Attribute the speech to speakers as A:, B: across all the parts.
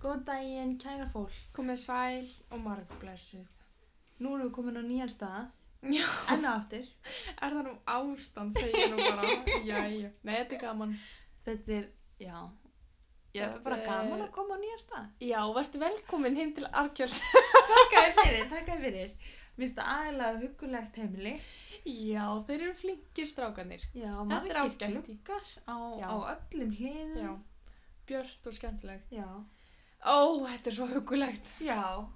A: Góðan daginn, kæra fólk.
B: Komið sæl og margblessuð.
A: Nú erum við komin á nýjan stað,
B: Já.
A: enn og aftur.
B: Er það nú ástand, segir ég nú bara. Jæja. Nei, þetta er gaman.
A: Þetta er, já, já
B: Þetta
A: bara
B: er-
A: gaman að koma á nýjan stað.
B: Já, verður velkomin heim til Arkjöls.
A: Takk að þér fyrir, takk að þér fyrir. Mér finnst það aðalega huggulegt heimili.
B: Já, þeir eru flinkir strákanir.
A: Já,
B: er
A: margir
B: ágætt.
A: gluggar á,
B: Já.
A: á öllum hliðum.
B: Já. Björt og skemmtileg.
A: já.
B: Ó, þetta er svo hugulegt.
A: Já,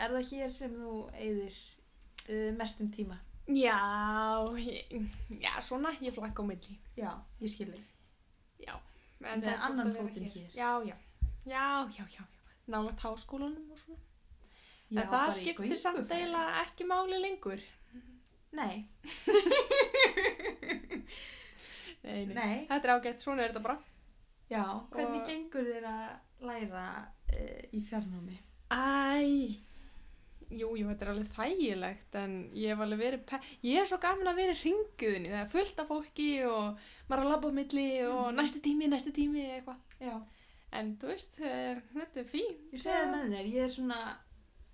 A: er það hér sem þú eyðir uh, mestum tíma?
B: Já, ég, já, svona, ég flakka á milli.
A: Já, ég skil þig.
B: Já.
A: Með
B: það er gott
A: annan
B: að vera
A: fótinn hér.
B: Já, já. Já, já, já. já. Nálagt háskólanum og svona.
A: Já,
B: en
A: bara
B: það
A: í
B: skiptir
A: gönguferð.
B: samt eiginlega ekki máli lengur.
A: Nei,
B: Nei,
A: Nei.
B: Þetta er ágætt, svona er þetta bara.
A: já, hvernig
B: Og-
A: gengur þér að læra uh, í fjarnámi?
B: Æ, jú, jú, þetta er alveg þægilegt en ég hef alveg verið, pe- ég er svo gaman að vera í ringuðinni, það er fullt af fólki og maður er að labba á milli og
A: Mhm.
B: næsti tími, næsti tími eitthvað.
A: Já.
B: En þú veist, eh, þetta er fínt.
A: Ég segði
B: Eh.
A: með þér, ég er svona,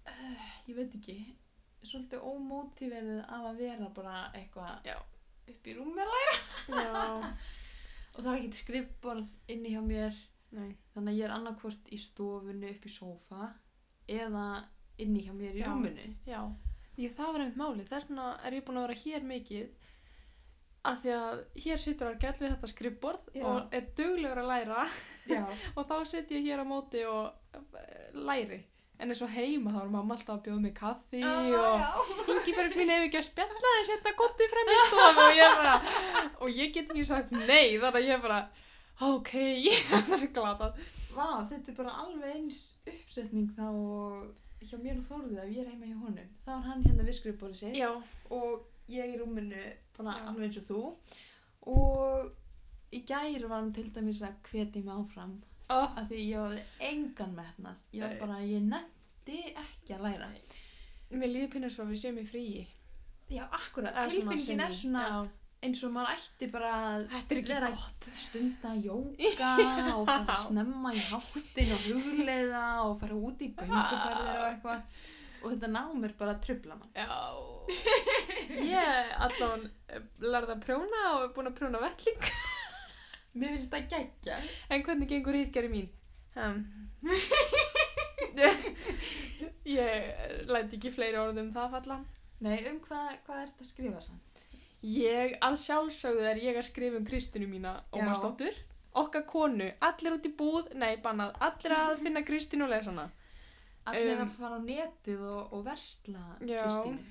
A: uh, ég veit ekki, svolítið ómótíverið af að vera bara eitthvað
B: Já.
A: upp í rúmela
B: Já,
A: og það er ekkert skrifborð inni hjá mér,
B: nei,
A: þannig að ég er annarkvort í stofunni upp í sófa eða inni hjá mér í
B: Já.
A: rúminu.
B: já. Ég, það var einmitt málið, þess vegna er ég búin að vera hér mikið að því að hér situr að gæl við þetta skrifborð
A: Já.
B: og er duglegur að læra
A: Já.
B: og þá sitt ég hér á móti og eh, læri. En eins og heima þá var mamma alltaf að bjóða mig kaffi og Ingibjörg mín hefur ekki að spjalla þess hérna gottu frem í stofu og ég bara og ég get ekki sagt nei þannig að ég bara ok, það er glatað
A: Vá, þetta er bara alveg eins uppsetning þá og hjá mér og Þórðu ef ég er heima hjá honum. Þá er hann hérna við skrifborðið sitt
B: já,
A: og ég í rúminu bara
B: Já.
A: alveg eins og þú. Og í gæri var hann til dæmis að hvetja mig áfram
B: oh,
A: af því ég hafði engan metnað. Ég var
B: Nei.
A: bara, ég nefndi ekki að læra.
B: mér líður pinna svo að við séum í fríi
A: Já, akkurat,
B: Eða svona
A: tilfinningin er
B: semi,
A: svona
B: já.
A: eins og maður ætti bara að
B: þetta er ekki
A: Vera-
B: gott
A: stunda jóka og fara snemma í háttin og hugleiða og fara út í gönguferðir og eitthvað og þetta nám er bara að trubla mann
B: já ég allan lærði að prjóna og er búin að prjóna velling
A: mér finnst þetta geggja
B: en hvernig gengur rítgeri mín um. ég læti ekki fleiri orðum það falla
A: nei, um hvað hva er þetta að skrifa sann?
B: Ég, að sjálfsögðu er ég að skrifa um Kristinu mína
A: Já.
B: og maðurstóttur, okkar konu, allir út í búð, nei bannað, allir að finna Kristinu og lesa hana.
A: allir
B: Um,
A: að fara á netið og, og versla
B: Já.
A: Kristínu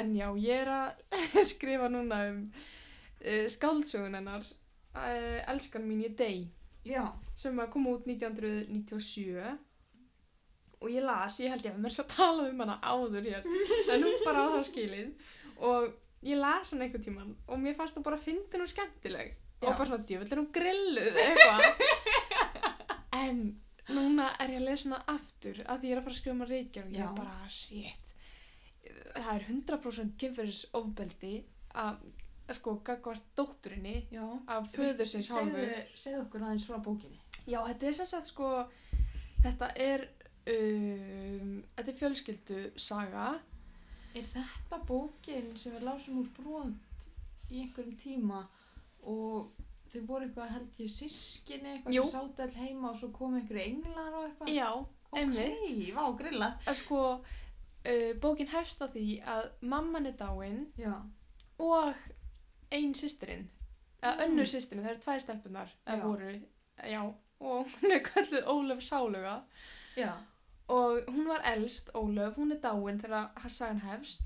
B: En já, ég er að skrifa núna um uh, skáldsögun hennar, uh, Elskan mín ég dey,
A: já,
B: sem að koma út 1997 og ég las, ég held ég að mér svo talað um hana áður hér, en hún bara á það skilið og ég las hana einhvern tíman og mér fannst hún bara fyndin og skemmtileg
A: Já.
B: og bara svona djöfull er hún grilluð eitthvað en núna er ég að lesa hana aftur af því ég er að fara að skrifa um að reykja og ég
A: Já.
B: er bara, shit það er 100% kynferðis ofbeldi að, að sko, gagvart dótturinni
A: já
B: af föður sinns hálfu
A: Segðu- segðu okkur aðeins frá bókinni
B: Já, þetta er sem sagt sko, þetta er, um, þetta er fjölskyldu saga.
A: er þetta bókin sem við lásum úr brot í einhverjum tíma og þau voru eitthvað held ég sískinni eitthvað
B: Jú.
A: sem sátu all heima og svo komu einhverju englar og eitthvað
B: Já, einmitt.
A: ok, vá, grilla
B: Að sko, uh, bókin hefst á því að mamman er dáin
A: já,
B: og ein sýstirinn, eða
A: Mm.
B: önnur sýstirinn, það eru tvær stelpunar,
A: Já.
B: eða voru, já, og hún er kallið Ólöf Sáluga.
A: já,
B: og hún var elst, Ólöf, hún er dáin þegar að sagan hefst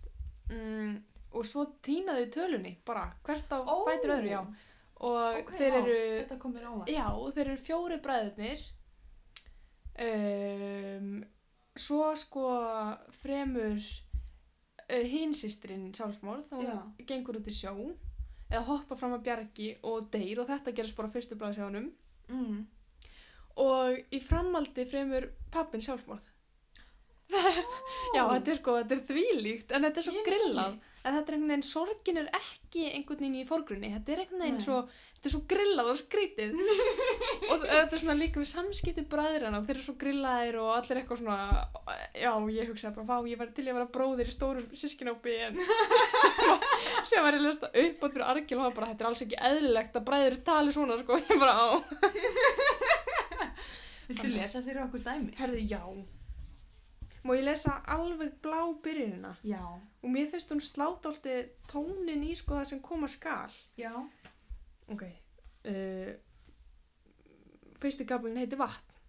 B: mm, og svo týnaðu tölunni bara, hvert á
A: Ó.
B: fætur öðru, já og
A: ok,
B: þeir
A: vá,
B: eru
A: þetta kom mér óvart
B: já, og þeir eru fjóri bræðurnir um, svo sko fremur uh, hinsýstrin sálsmórð, hún
A: Já.
B: gengur út í sjó eða hoppa fram að bjargi og deyr og þetta gerist bara á fyrstu bræðsjónum
A: mm.
B: og í framaldi fremur pappin sjálfsmórð Já, þetta er sko, þetta er þvílíkt, en þetta er svo
A: Ég veit
B: grillað. en þetta er einhvern veginn, sorgin er ekki einhvern veginn í fórgrunni, þetta er einhvern veginn
A: Nei.
B: svo þetta er svo grillað og skrítið og þetta er svona líka við samskipti bræðrana og þeir eru svo grillaðir og allir eitthvað svona já, ég hugsaði bara, vá, ég var til ég var að bróðir í stórum sískinópi en sem var ég lesta upp átt fyrir argil og hann bara, þetta er alls ekki eðlilegt að bræður tali svona, sko, ég bara á
A: Viltu lesa fyrir okkur dæmi?
B: herðu, já má ég lesa alveg blá byrjunina
A: Já.
B: og mér finnst hún slátt alltaf tónin í sko það sem koma skal
A: Já.
B: ok uh, fyrsti kaplinn heiti vatn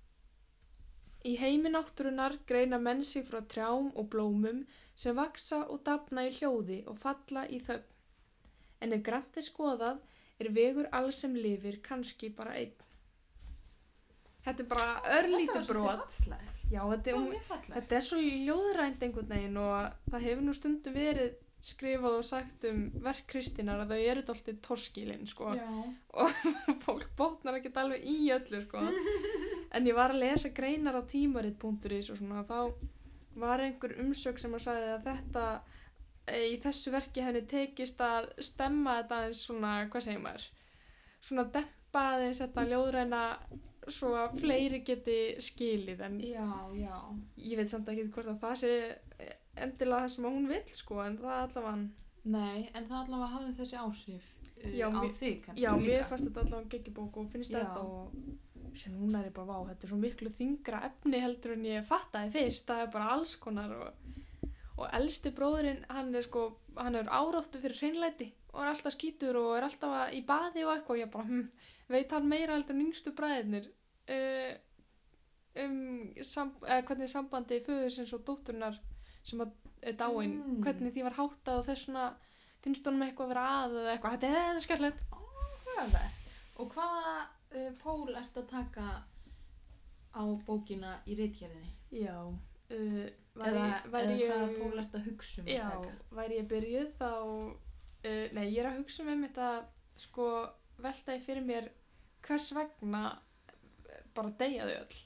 B: í heiminátturunar greina menn sig frá trjám og blómum sem vaksa og dafna í hljóði og falla í þögn en ef grannt er skoðað er vegur alls sem lifir kannski bara einn þetta er bara örlítið brot já þetta er,
A: Þetta var
B: hún,
A: mjög fallegt.
B: Þetta er svo ljóðrænt einhvern veginn og það hefur nú stundum verið skrifað og sagt um verk Kristínar að þau eru dálítið torskilin sko.
A: Já.
B: fólk botnar ekki alveg í öllu sko. en ég var að lesa greinar á tímarit.is og svona þá var einhver umsögn sem að sagði að þetta e, í þessu verki henni tekist að stemma þetta aðeins svona, hvað segir maður svona dempa aðeins þetta ljóðræna svo að fleiri geti skilið en
A: Já, já.
B: ég veit samt ekki hvort að það sé endilega það sem að hún vill sko en það allavega
A: Nei, en það allavega hafði þessi áhrif uh,
B: Já,
A: á
B: mér-
A: þig kannski
B: já,
A: líka.
B: mér fannst þetta allavega geggjubók og finnst
A: Já.
B: þetta og sem núna er ég bara vá, þetta er svo miklu þyngra efni heldur en ég fattaði fyrst það er bara alls konar og, og elsti bróðurinn, hann er sko hann er áráttu fyrir hreinlæti og er alltaf skítur og er alltaf að- í baði og eitthvað og ég bara, hm, veit hann meira heldur en yngstu bræðinir uh, um sam, eh, hvernig sambandi föðusins og dótturinnar sem að er dáin,
A: Mm.
B: hvernig því var háttað og þess svona, finnst honum eitthvað að vera að eða eitthvað, þetta er eða skallett
A: Áhugavert. Og hvaða uh, pól ert að taka á bókina í reitgerðinni?
B: Já, uh, væri,
A: Eða,
B: væri,
A: eða hvaða
B: ég,
A: pól ert að hugsa um
B: já,
A: að taka?
B: væri ég byrjuð þá, uh, nei ég er að hugsa með þetta, sko, veltaði fyrir mér hvers vegna eh, bara deyja þau öll.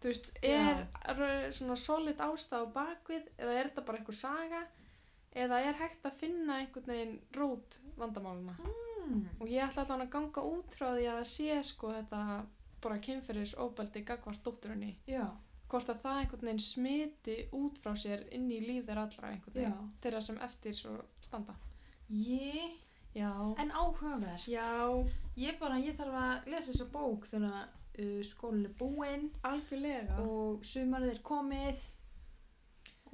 B: Þú veist, er, er svona solid ástæð á bakvið eða er þetta bara einhver saga eða er hægt að finna einhvern veginn rót vandamáluna?
A: Hmm.
B: Og ég ætla allan að ganga út frá því að það sé sko þetta bara kynferðis óbældi gagvart dótturinni
A: Já,
B: hvort að það einhvern veginn smiti út frá sér inn í líf þeirra allra einhvern
A: já.
B: veginn þeirra sem eftir svo standa
A: Ég,
B: já,
A: en áhugavert.
B: já,
A: Ég bara, ég þarf að lesa þessa bók þegar uh, skólinn er búinn
B: algjörlega
A: og sumarið er komið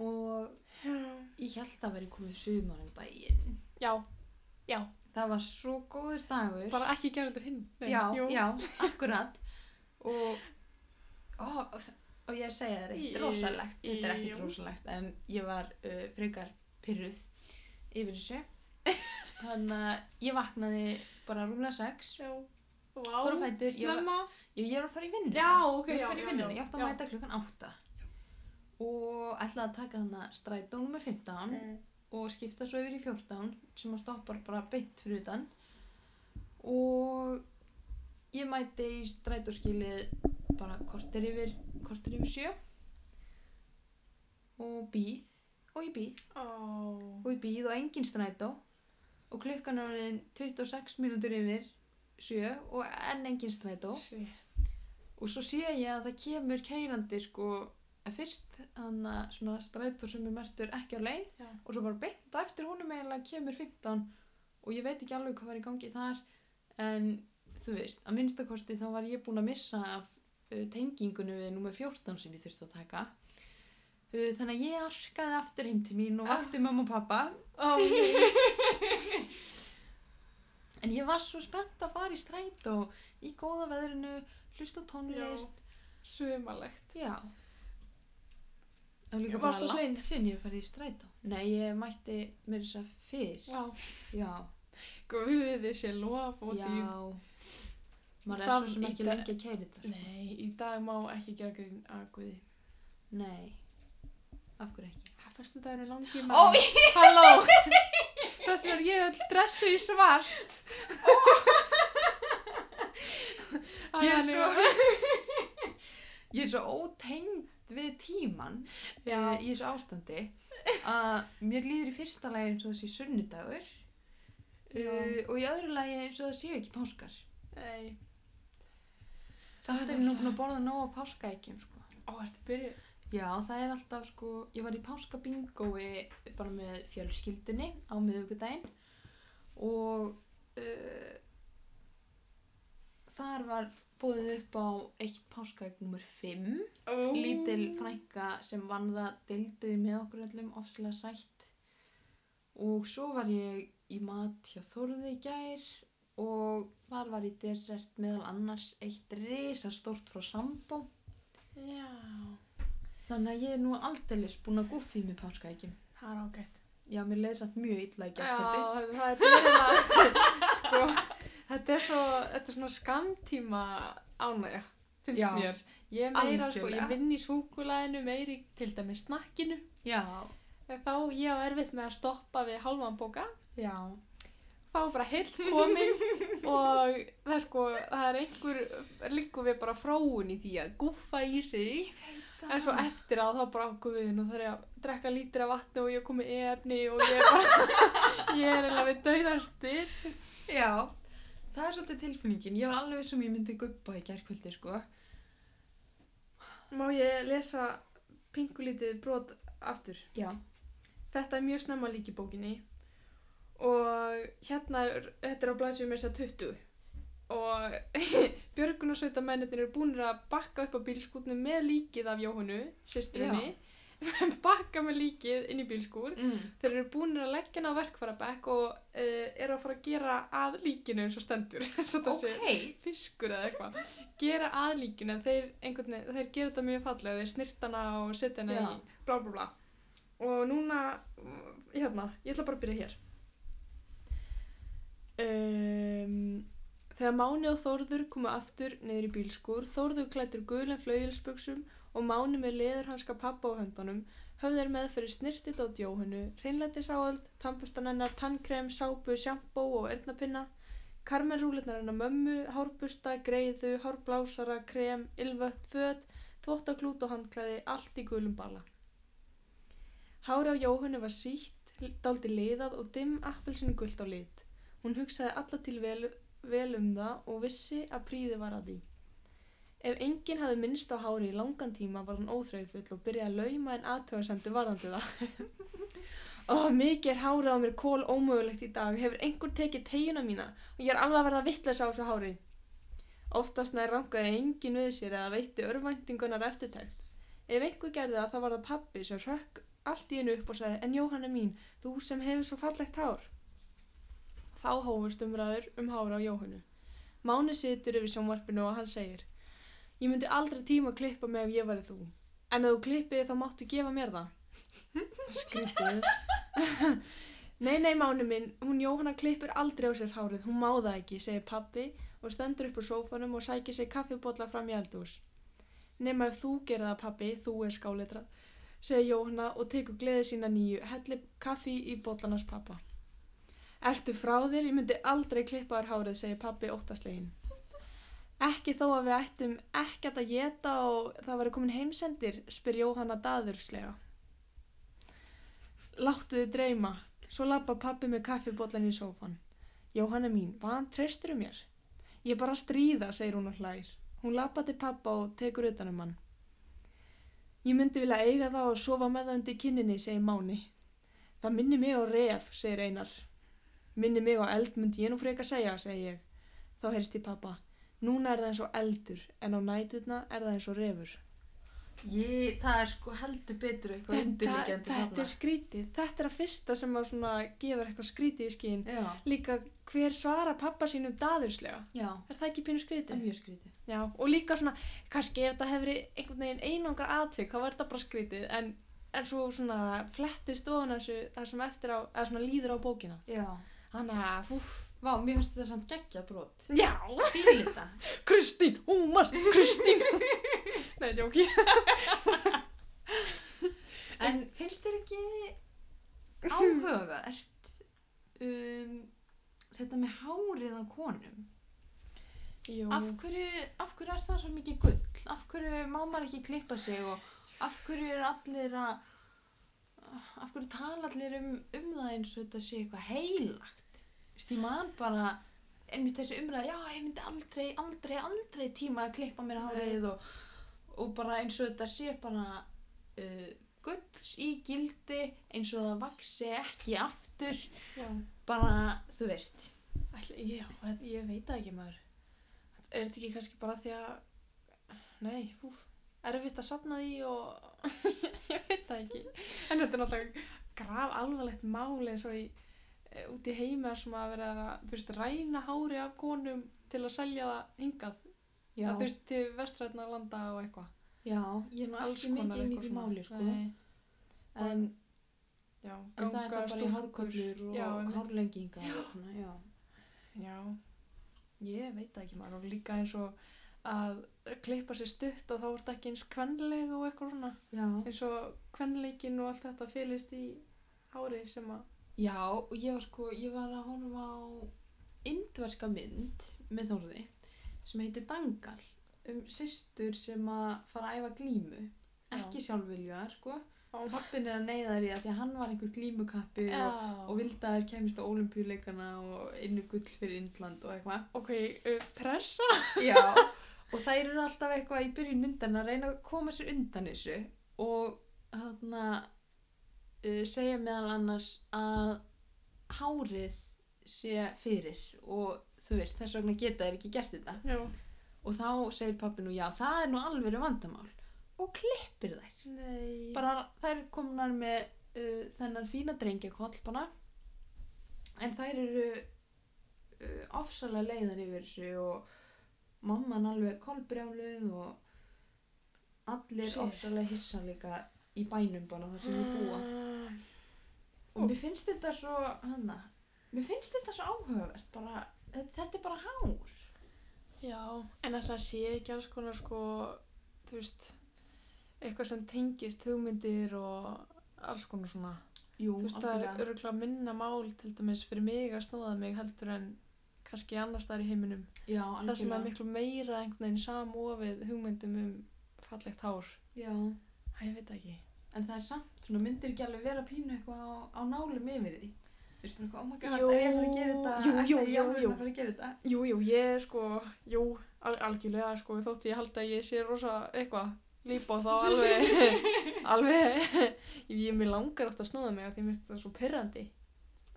A: og
B: já,
A: ég held að veri komið sumar um daginn.
B: já,
A: Það var svo góður dagur.
B: bara ekki gerður hinn Nei,
A: já,
B: jú.
A: já, akkurat. Og, ó, og, þa- og ég segja þér eitt
B: Í-
A: rosalegt, þetta er
B: jú.
A: ekkert rosalegt, en ég var uh, frekar pyrruð yfir þessu. Þannig að ég vaknaði bara rúmlega sex.
B: já. Vá,
A: Fór á fætur, ég var-
B: snemma
A: Ég, ég var að fara í vinnuna.
B: já, ok,
A: ég var
B: já,
A: að fara
B: já,
A: í vinnuna,
B: já,
A: ég átti að
B: já.
A: mæta klukkan 8 og ætlaði að taka þannig strætó nummer 15
B: Mm.
A: og skipta svo yfir í 14 sem að stoppar bara beint fyrir utan og ég mæti í strætóskilið bara kortir yfir kortir yfir 7 og býð og ég býð
B: Ó.
A: og ég býð og engin strætó og klukkan er orðin 26 mínútur yfir 7 og enn engin strætó
B: Shit.
A: og svo sé ég að það kemur keirandi sko að fyrst hann að svona strætur sem er mertur ekki á leið
B: Já.
A: og svo bara beint á eftir honum eiginlega kemur 15 og ég veit ekki alveg hvað var í gangi þar en þú veist, að minnstakosti þá var ég búin að missa af uh, tengingunum við nummer 14 sem ég þurfti að taka uh, þannig að ég arkaði aftur heim til mín og vakti mamma og pappa
B: Ó, nei.
A: En ég var svo spennt að fara í stræt og í góða veðrinu, hlusta á tónlist,
B: sumalegt
A: Já. Það var líka
B: Varstu
A: bara
B: sein?
A: langt sinn ég farið í strætó. Nei, ég mætti mér þess að fyrr.
B: já,
A: Já,
B: guðið sé lof og
A: já.
B: dýr
A: Maður er
B: Það
A: svo sem
B: í
A: ekki
B: dag-
A: lengi að keira þetta. sko.
B: nei, í dag má ekki gera grín að guði
A: Nei. Af hverju ekki?
B: Það fyrstu dagur er langi
A: Ó,
B: maður. Halló. Þess vegna er ég öll dressu í svart. Æ,
A: Ég er
B: hann
A: Ég er svo ótengd við tíman
B: Já.
A: eh, í þessu ástandi að mér líður í fyrsta lagi eins og það sé sunnudagur
B: Já.
A: uh, og í öðru lagi eins og það séu ekki páskar
B: Nei.
A: samt er ég nú búin að borða nóg á páskaeggjum sko.
B: Ó, ertu byrju?
A: já það er alltaf sko ég var í páskabingói bara með fjölskyldunni á miðugudaginn og uh, þar var búið upp á eitt páskaegg nummer 5
B: Ó.
A: lítil frænka sem vann það deildiði með okkur öllum ofslega sætt og svo var ég í mat hjá Þórði í gær og þar var í desert meðal annars eitt risastórt frá sambó
B: Já.
A: þannig að ég er nú aldeilis búin að guffi í mig páskaækjum
B: Það er ágætt.
A: já, mér leiði samt mjög illa í
B: Já,
A: gærkvöldi
B: það er byrjað sko, þetta er svo, þetta er svona skamtíma ánægja, finnst
A: Já.
B: mér. Ég er meira, sko,
A: Algjörlega.
B: ég vinn í súkulæðinu, meiri til dæmis snakkinu.
A: já,
B: En Þá ég á erfitt með að stoppa við halvan bóka.
A: já,
B: Þá er bara heill komin og það er sko, það er einhver, líkum við bara fróun í því að guffa í sig. En svo eftir að þá bara okkur við, nú þarf ég að drekka lítir af vatni og ég komi e-efni og ég er bara, ég er eiginlega við dauðarstir.
A: já það er svolítið tilfinningin ég var alveg sem ég myndi guppa í gærkvöldi sko
B: Má ég lesa pingulítið brot aftur?
A: já,
B: Þetta er mjög snemma líki bókinni og hérna, er, þetta er á blæsum með þess að 20 og björgunarsveitamennir eru búinir að bakka upp á bílskúrnu með líkið af Jóhannu, sýsturinni, bakka með líkið inn í bílskúr.
A: mm.
B: Þeir eru búinir að leggja hann á verkvarabekk og uh, eru að fara að gera að líkinu eins og stendur, eins og það sé fiskur eða eitthvað gera aðlíkun en þeir, einhvern veginn, þeir gera þetta mjög fallega þeir snirta hana og setja hana
A: Já.
B: í bla bla bla og núna mm, hérna, ég ætla bara að byrja hér um, Þegar Máni og Þórður komu aftur niður í bílskur Þórður klættur gulen flauilsbuxum og Máni með leðurhanska pappa á höndunum höfðu þeir með fyrir snirtit á djóhunu hreinlætisáald, tannbustan hennar, tannkrem, sápu, sjampó og erðnapinna Karmen rúlirnar hennar mömmu, hárbusta, greiðu, hárblásara, krem, ylvött, föt, þvottaklút og handklæði, allt í gulum bala. Hári á Jóhannu var sítt, daldi leiðað og dimm appelsinu gult á lit. Hún hugsaði alla til vel, vel um það og vissi að príði var að því. Ef enginn hafði minnst á hári í langan tíma var hann óþreyfull og byrjaði að lauma en aðtöðasemdi varðandi það. Ó, mikið er hárið á mér kól ómögulegt í dag. Hefur einhver tekið tegina mína og ég er alveg að verða vittleysa á þessu hári. Oftast nær rangaði enginn við sér eða veitti örvæntingunar eftirtækt. Ef einhver gerði það þá var það pappi sem hrökk allt í hennu upp og sagði en Jóhanna mín, þú sem hefur svo fallegt hár. Þá hófust umræður um hára á Jóhannu. Máni situr yfir sjónvarpinu og hann segir Ég myndi aldrei tíma að klippa mig ef ég væri þú. En ef þú klippið þá máttu gefa mér það. Skrítið. Nei, nei, mánu minn, hún Jóhanna klippir aldrei á sér hárið, hún má það ekki, segir pabbi og stendur upp úr sófanum og sækir sér kaffibotla fram í eldhús. Nefna ef þú gerir það pabbi, þú er skáletrað, segir Jóhanna og tekur gleði sína nýju, hellir kaffi í botlanars pappa. Ertu frá þér, ég myndi aldrei klippa þér hárið, segir pabbi óttaslegin. Ekki þó að við ættum ekkert að geta og það var komin heimsendir, spyr Jóhanna daðurslega. Láttu þið dreyma. Svo lappa pappi með kaffibotlan í sófan. Jóhanna mín, hvaðan treystur um mér? Ég er bara að stríða, segir hún og hlær. Hún lappa til pappa og tekur utan um hann. Ég myndi vilja eiga það og sofa með það undir kinninni, segir Máni. Það minni mig á ref, segir Einar. Minni mig á eld, myndi ég nú frekar segja, segir ég. Þá heyrst ég pappa. Núna er það eins og eldur, en á næturna er það eins og refur.
A: Ég, það er sko heldur betur eitthvað
B: Þetta,
A: undirliggjandi
B: þetta er
A: þarna.
B: skrítið. Þetta er að fyrsta sem að svona gefur eitthvað skrítið í skín.
A: Já,
B: Líka hver svarar pappa sínum daðurslega?
A: já,
B: Er það ekki pínu
A: þetta er
B: skrítið?
A: mjög skrítið.
B: Já, og líka svona, kannski ef það hefur einhvern veginn einangar atvik, þá verður það bara skrítið, en, en svo svona flettist ofan þessu, það sem eftir á, eða svona líður á bókina.
A: Já.
B: Þannig að, fúf,
A: Vá, mér finnst þetta samt geggja brot.
B: já,
A: Fíl þetta.
B: Kristín, húmar, Kristín. Nei, djóki.
A: En finnst þér ekki áhugavert um, þetta með hárið á konum?
B: Jú,
A: Af hverju, af hverju er það svo mikið gull? Af hverju má maður ekki klippa sig og af hverju er allir að af hverju tala allir um, um það eins og þetta sé eitthvað heilagt Þú veist, ég man bara einmitt þessi umræð, já, ég myndi aldrei, aldrei, aldrei tíma að klippa mér hárið og, og bara eins og þetta sé bara uh, gulls í gildi eins og það vaksi ekki aftur
B: Já.
A: bara, þú veist
B: Ætli, já, þetta- ég veit það ekki maður. Er þetta ekki kannski bara því að, nei, úf, erfitt að safna því og ég veit það ekki. En þetta er náttúrulega graf alvarlegt máli eins og í, e, út í heima sem að vera að, þú veist, ræna hári af konum til að selja það hingað.
A: já,
B: Þú veist, til vestrætna landa og eitthvað.
A: já, ég er nú ekki mikið inn í því máli sko.
B: Nei,
A: en,
B: já,
A: en það er það bara í
B: stúlkur.
A: hárköllur og
B: Já, einmitt.
A: hárlengingar og svona, já
B: Já, ég veit það ekki maður og líka eins og að klippa sér stutt og þá er þetta ekki eins kvenleg og eitthvað svona
A: Já,
B: eins og kvenleikin og allt þetta fylist í hári sem að
A: já og ég var sko, ég var að horfa á indverska mynd með Þórði sem heitir Dangal um systur sem að fara að æfa glímu ekki sjálfviljuðar sko
B: Já.
A: pappin er að neyða þær í það því að hann var einhver glímukappi og, og
B: og við,
A: vildi að þær kemist á olimpíuleikana og innu gull fyrir Indland og eitthvað
B: ok, uh, pressa
A: Já, og þær eru alltaf eitthvað í byrjun myndan að reyna að koma sér undan þessu og þarna uh, segja meðal annars að hárið sé fyrir og þú veist, þess vegna geta þær ekki gert þetta
B: Já,
A: og þá segir pappi nú já, það er nú alveg vandamál og klippir þær
B: nei bara,
A: bara þær komnar með uh, þennan fína drengjakoll bara en þær eru uh, ofsalega leiðar yfir þessu og mamman alveg kolbrjáluð og allir
B: Shit. Mm.
A: ofsalega hissa líka í bænum bara þar sem við búa
B: Ah,
A: og
B: Ó.
A: mér finnst þetta svo hana, mér finnst þetta svo áhugavert bara, þetta er bara hár
B: Já, en alltaf sé ekki alls konar sko, þú veist eitthvað sem tengist hugmyndir og alls konar svona
A: Jú,
B: Þú veist, það er örgulega minna mál til dæmis fyrir mig að snóða mig heldur en kannski annars staðar í heiminum.
A: já,
B: Það sem er
A: algjörlega.
B: miklu meira einhvern veginn samofið hugmyndum um fallegt hár.
A: já,
B: Æ, ég veit það ekki.
A: en það er samt svona myndir ekki alveg vera pínu eitthvað á, á nálum yfir því þú veist bara eitthvað, oh my god,
B: Jú,
A: er ég að fara að gera þetta
B: jú, jú,
A: Ætlaði ég alveg
B: jú,
A: að fara að gera þetta
B: Jú, jú, ég sko, jú, al algjörlega sko, þótt ég held að ég sé rosa eitthvað lípa þá alveg, alveg, ég mér langar oft að snóða mig að því mér finnst það svo pyrrandi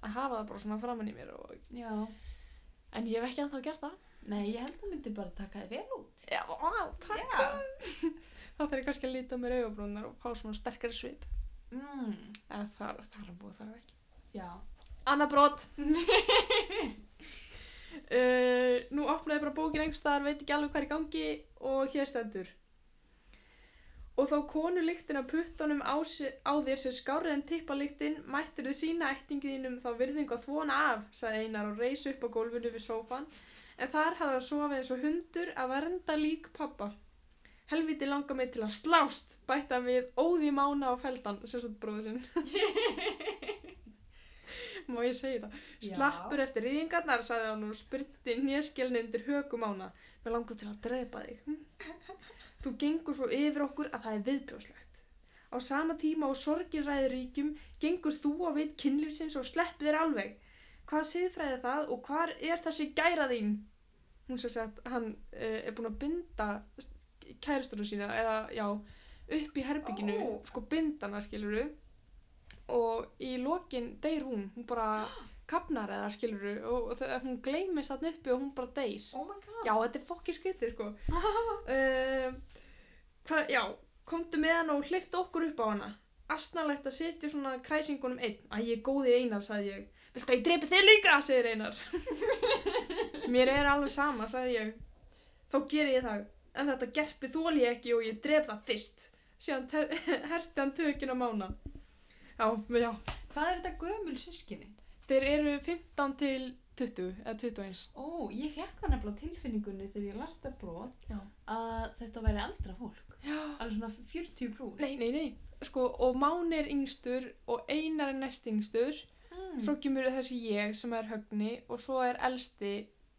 B: að hafa það bara svona framann í mér og,
A: já,
B: en ég hef ekki ennþá gert það.
A: nei, ég held að myndi bara taka þið vel út
B: Já, á, takk.
A: já,
B: Þá þarf ég kannski að líta á mér augabrúnar og fá svona sterkari svip.
A: mm,
B: En þar, þar að búa þar ekki.
A: já,
B: Anna brot. uh, nú opnaði bara bókin einhvers staðar, veit ekki alveg hvað er í gangi og hér stendur. Og þá konu lyktin af puttunum á, se- á þér sem skárið en tippa lyktin, mættir þið sína ættingu þínum þá virðingu að þvona af, sagði Einar og reis upp á gólfinu við sófan. En þar hafði hann sofið eins og hundur að vernda lík pappa. Helviti langar mig til að slást, bætti hann við óði mána á feldan, sérstætt bróðu sinn. Má ég segja það?
A: Já.
B: Slappur eftir rýðingarnar, sagði hann og sprinti néskelni undir högum ána. Mér langar til að drepa þig. Hm? Þú gengur svo yfir okkur að það er viðbjóðslegt. Á sama tíma og sorgin ræður ríkjum, gengur þú á veit kynlífsins og slepp þér alveg. Hvað siðfræði er það og hvar er þessi gæra þín? Hún sem sagt, hann uh, er búin að binda kæristunum sína, eða já, upp í herbygginu,
A: Ó.
B: sko bindana skilur og í lokin deyr hún, hún bara kapnar eða skilur og, og þau- hún gleymist þarna uppi og hún bara deyr.
A: oh my god
B: Já, þetta er fokki skrítið, sko. uh, hva, já, komdu með hann og hlifta okkur upp á hana. Astnalegt að sitja svona kræsingunum einn. Æ, ég er góði einar, sagði ég. Viltu að ég dreipi þig líka, segir einar. Mér er alveg sama, sagði ég. Þá ger ég það. En þetta gerpi þóli ég ekki og ég drep það fyrst. Síðan ter- herti hann tökin á mána. Já, já.
A: hvað er þetta gömul sískinni?
B: Þeir eru 15 til 20, eða 21.
A: ó, ég fekk það nefnilega á tilfinningunni þegar ég lasta brot
B: Já.
A: að þetta væri aldra fólk
B: Já.
A: alveg svona 40 brús
B: Nei, nei, nei. Sko, og Máni er yngstur og Einar er næst yngstur.
A: mm.
B: Svo kemur þessi ég sem er högni og svo er elsti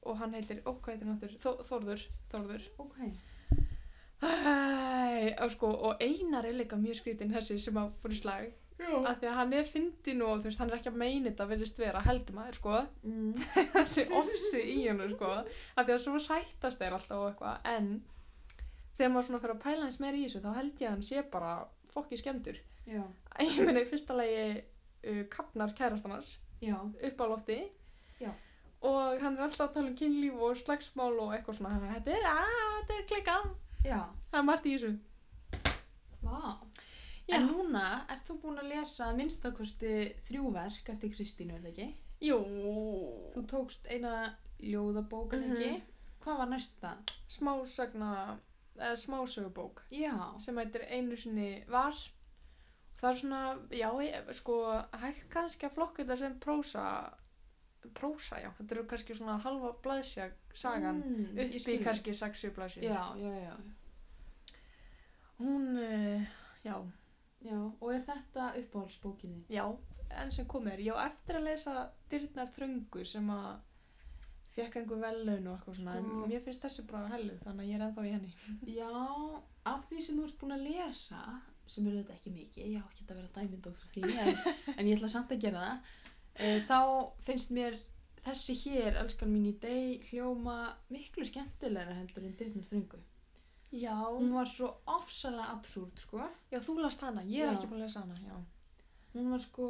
B: og hann heitir, ó, hvað heitir hann aftur? Þó, Þórður, Þórður.
A: ok,
B: Æ, og sko, og Einar er líka mjög skrítinn þessi sem að fór í slag.
A: Já.
B: af því að hann er fyndin og þú veist, hann er ekki að meina þetta virðist vera heldur maður, sko
A: Mm.
B: þessi ofsi í hennu, sko af því að svo sættast þeir alltaf og eitthvað en þegar maður svona fyrir að pæla hans meir í þessu þá held ég að hann sé bara fokki skemmtur
A: Já.
B: ég meina í fyrsta lagi uh, kapnar kærastamans
A: Já.
B: upp á lofti
A: Já.
B: og hann er alltaf að tala um kynlíf og slagsmál og eitthvað svona þannig að þetta er, að, þetta er klikkað
A: Já.
B: það er margt í þessu
A: Vá.
B: Já.
A: En núna, ert þú búin að lesa að minnstakosti þrjú verk eftir Kristínu, eða ekki?
B: jú,
A: Þú tókst eina ljóðabók, eða
B: Mhm.
A: ekki? Hvað var næsta?
B: smásagna eða smásögubók
A: Já.
B: sem heitir einu sinni var það er svona, já, ég, sko hægt kannski að flokka þetta sem prósa prósa, já, þetta eru kannski svona halva blaðsja sagan
A: mm, ég
B: upp í
A: skil.
B: kannski 60 blaðsja
A: Já, já, já.
B: hún, uh, já,
A: Já, og er þetta uppáhaldsbókinni?
B: já enn sem kom er, já, eftir að lesa Dyrnar þröngu sem að fekk einhver velun og eitthvað svona
A: Sko.
B: en mér finnst þessi bara hellu, þannig að ég er ennþá í henni
A: Já, af því sem þú ert búin að lesa, sem eru þetta ekki mikið, ég á ekki að vera dæmind á því, en, en ég ætla samt að gera það, e, þá finnst mér þessi hér, elskan mín í deg, hljóma miklu skemmtilegra heldur en Dyrnar þröngu.
B: já,
A: Hún var svo ofsalega absúrt, sko.
B: já, þú last hana, ég er
A: Já.
B: ekki búin að lesa hana já,
A: Hún var sko,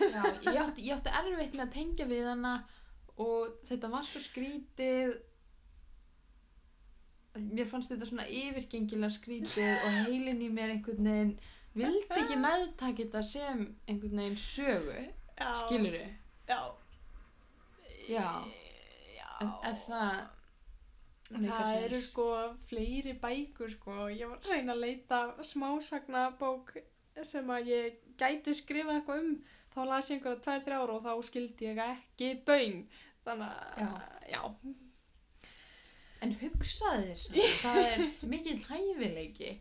A: já, ég átti, ég átti erfitt með að tengja við hana og þetta var svo skrítið, mér fannst þetta svona yfirgengilega skrítið og heilin í mér einhvern veginn vildi ekki meðtaka þetta sem einhvern veginn sögu,
B: já.
A: skilur þau?
B: Já.
A: Já.
B: Já.
A: Ef það... meikar
B: Það eru
A: sens.
B: sko fleiri bækur sko. Ég var að reyna að leita smásagnabók sem að ég gæti skrifað eitthvað um. Þá las ég einhverja tvær, þrjá ára og þá skildi ég ekki böng. Þannig að, já.
A: En hugsaði þér samt, það er mikill hæfileiki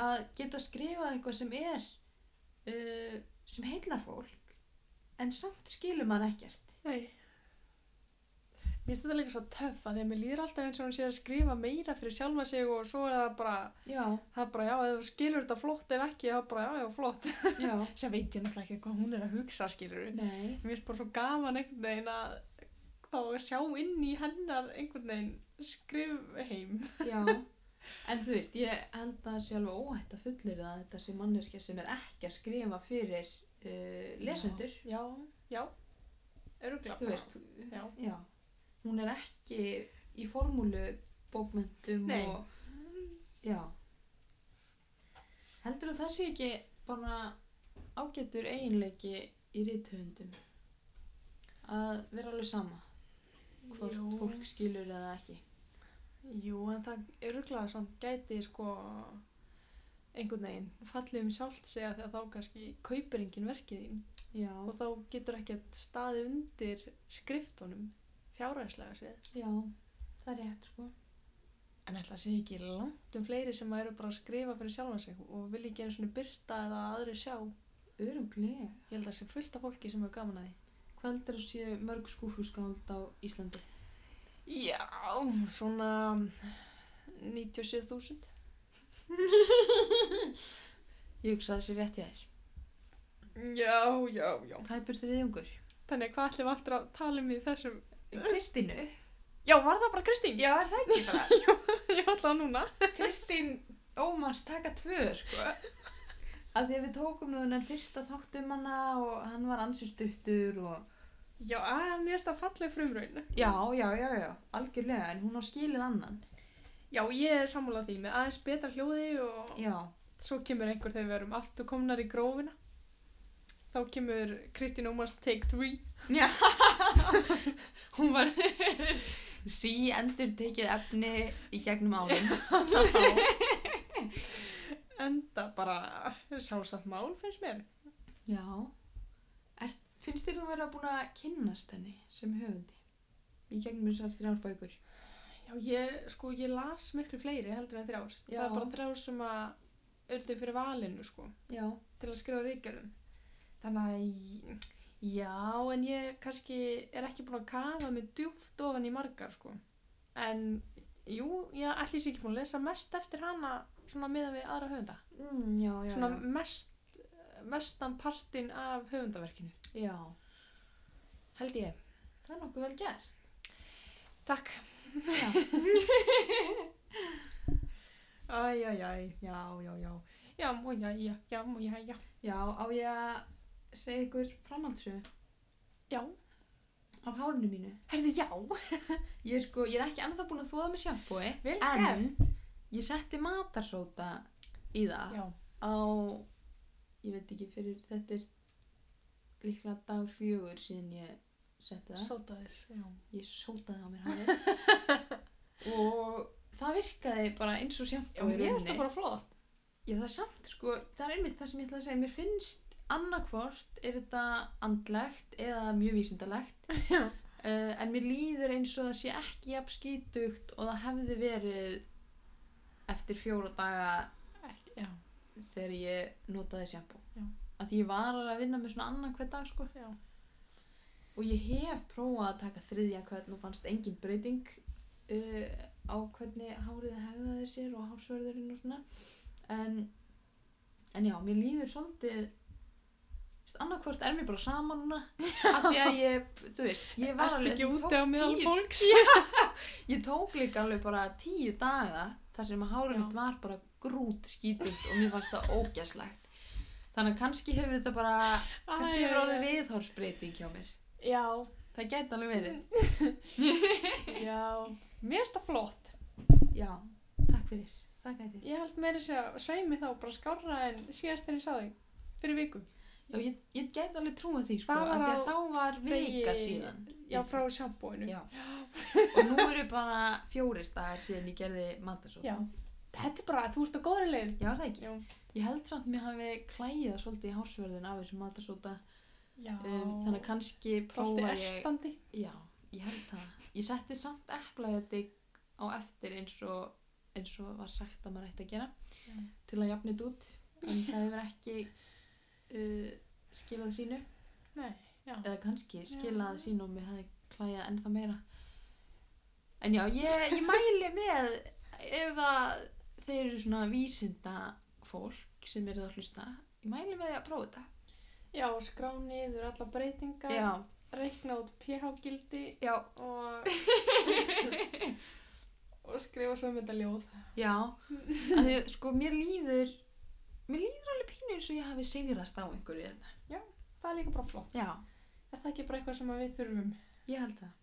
A: að geta skrifað eitthvað sem er, uh, sem heillar fólk, en samt skilur maður ekkert.
B: Nei. Mér finnst þetta líka svo töff að því að mér líður alltaf eins og hún sé að skrifa meira fyrir sjálfa sig og svo er það bara,
A: Já,
B: það er bara, já, ef þú skilur þetta flott ef ekki, þá bara, já, já, flott.
A: já.
B: Sem veit ég náttúrulega ekki hvað hún er að hugsa, skilur
A: Nei,
B: Mér finnst bara svo gaman einhvern veginn að fá að sjá inn í hennar einhvern veginn skrifheim.
A: já. En þú veist, ég held að það sé alveg óhætt að fullir að þetta sé manneskja sem er ekki að skrifa fyrir uh, lesendur.
B: Já, já, öruglega.
A: Þú veist,
B: Já.
A: já. Hún er ekki í formúlu bókmyndum
B: Nei.
A: og... Já. Heldur þú það sé ekki bara ágættur eiginleiki í rithöfundum? Að vera alveg sama, hvort
B: Jú.
A: fólk skilur eða ekki.
B: Jú, en það öruglega samt gæti sko einhvern veginn fallið um sjálft segja þegar þá kannski kaupir enginn verkið þín
A: Já,
B: og þá getur ekkert staðið undir skriftunum fjárhæslega séð.
A: já, það er rétt sko.
B: En ætla að sé ekki langt um fleiri sem eru bara að skrifa fyrir sjálfan sig og vil ekki einu svona byrta eða að aðri sjá.
A: Öruglega.
B: Ég held að það sé fullt af fólki sem hefur gaman að því.
A: Hvað heldur að séu mörg skúfuskáld á Íslandi?
B: Já, svona 97.000.
A: Ég hugsa að það sé rétt í þær.
B: Já, já, já.
A: Tæpur þriðjungur.
B: Þannig hvað ætlum við aftur að tala um í þessum?
A: Kristínu?
B: Já, var það bara Kristín?
A: Já, er það ekki bara.
B: Ég ætla að núna.
A: Kristín Ómars taka tvö, sko. Að því að við tókum nú þennan fyrsta þátt um hana og hann var ansið stuttur og...
B: Já, að, mér finnst það falleg frumraun.
A: Já, já, já, já, algjörlega, en hún á skilið annan.
B: Já, ég er sammálað því með aðeins betra hljóði og
A: Já,
B: svo kemur einhver þegar við erum aftur komnar í grófina. Þá kemur Kristín Ómars Take 3.
A: hún var sí endur tekið efni í gegnum árum.
B: Enda bara sjálfsagt mál finnst mér.
A: Já. Er, finnst þér þú vera búin að kynnast henni sem höfundi? Í gegnum þessar þrjár bækur.
B: Já, ég, sko, ég las miklu fleiri heldur en þrjár.
A: Já.
B: Það er bara þrjár sem að urðu fyrir valinu, sko,
A: Já.
B: til að skrifa ríkjörum. Þannig að, ég- já, en ég kannski er ekki búin að kafa mig djúft ofan í margar, sko. En, jú, ég ætli sér ekki búin að lesa mest eftir hana, svona miðan við aðra höfunda.
A: Mm, já, já,
B: svona
A: já.
B: mest, mestan partinn af höfundaverkinu.
A: Já,
B: Held ég.
A: það er nokkuð vel gert.
B: Takk.
A: Já. Æj, æj, æj, já, já, já.
B: Já, mú, já, já, já, mú, já, já.
A: Já, á ég að segja ykkur framhaldsögu
B: Já.
A: af hárinu mínu.
B: Herði, já.
A: Ég er sko, ég er ekki ennþá búin að þóða með sjampói.
B: Vel
A: En
B: gert.
A: ég setti matarsóta í það
B: Já.
A: á, ég veit ekki fyrir, þetta er líklega dag fjögur síðan ég setti það.
B: Sótaður. Já.
A: Ég sótaði á mér hárið. og það virkaði bara eins og
B: Já,
A: sjampói í
B: mér finnst
A: rauninni.
B: það bara flóða.
A: Já, það er samt, sko, það er einmitt það sem ég ætla að segja. Mér finnst annarkvort er þetta andlegt eða mjög vísindalegt.
B: Já.
A: Uh, en mér líður eins og það sé ekki jafn skítugt og það hefði verið eftir fjóra daga
B: Ekki, já.
A: þegar ég notaði sjampó.
B: Já.
A: Að því ég var alveg að vinna með svona annan hver dag, sko.
B: Já.
A: Og ég hef prófað að taka þriðja hvern og fannst engin breyting uh, á hvernig hárið hegðaði sér og hársverðurinn og svona. En, en já, mér líður svolítið annarkvort er mér bara saman núna af því að ég, þú veist, ég var
B: Ertu ekki
A: ég
B: úti
A: tók
B: á meðal
A: tíu-
B: fólks?
A: Ég tók líka alveg bara tíu daga þar sem að hárið
B: Já.
A: mitt var bara grút skítist og mér fannst það ógæslegt. Þannig að kannski hefur þetta bara, kannski hefur orðið viðhórsbreyting hjá mér.
B: Já.
A: Það gæti alveg verið.
B: Já. Mér finnst það flott.
A: Já, takk fyrir. Takk fyrir.
B: Ég held meira sér að sveimi þá bara skárra en síðast en ég sá þig. Fyrir viku.
A: Já, ég, ég gæti alveg trúa því sko,
B: Það
A: af
B: var
A: því
B: á
A: að þá var
B: degi-
A: vika síðan.
B: Já, frá sjampóinu.
A: Já. Og nú eru bara fjórir dagar síðan ég gerði matarsóta.
B: Já. Þetta er bara, þú ert á góðri leið.
A: Já, er það ekki.
B: Já.
A: Ég held samt mér hafi klæðið svolítið í hársverðin af þessum matarsóta.
B: Já.
A: Um, þannig að kannski prófa
B: Alltaf
A: ég
B: ertandi.
A: Já, ég held það. Ég setti samt eplaðið á eftir eins og, eins og var sagt að maður ætti að gera
B: Já.
A: til að jafna þetta út. En það hefur ekki uh, skilað sínu.
B: Nei, já.
A: Eða kannski skilað sínu og mér hefði klæjað ennþá meira. En já, ég, ég mæli með ef að þeir eru svona vísinda fólk sem eru að hlusta. Ég mæli með því að prófa þetta.
B: Já, skrá niður alla breytingar,
A: Já,
B: reikna út pH-gildi
A: já,
B: og, og skrifa svo um þetta ljóð.
A: Já, af því sko mér líður mér líður alveg pínu eins og ég hafi sigrast á einhverju í þetta.
B: Það er líka bara flott.
A: Já,
B: Er það ekki bara eitthvað sem að við þurfum
A: ég held það.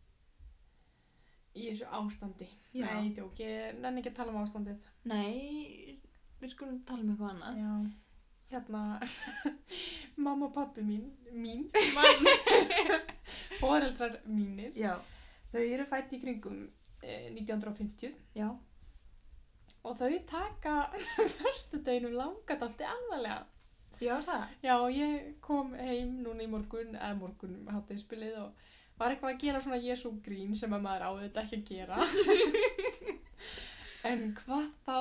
B: í þessu ástandi?
A: Já.
B: Nei, ég djók, ég nenni ekki að tala um ástandið.
A: Nei, við skulum tala um eitthvað annað.
B: Já. Hérna, mamma og pappi mín, mín, mann, foreldrar mínir,
A: Já,
B: þau eru fætt í kringum eh, 1950
A: já,
B: og þau taka förstudeginum langadalti alvarlega.
A: já er það.
B: Já, ég kom heim núna í morgun, eða morgun háttið spilið og var eitthvað að gera svona Jésu grín sem að maður á þetta ekki að gera. en hvað þá,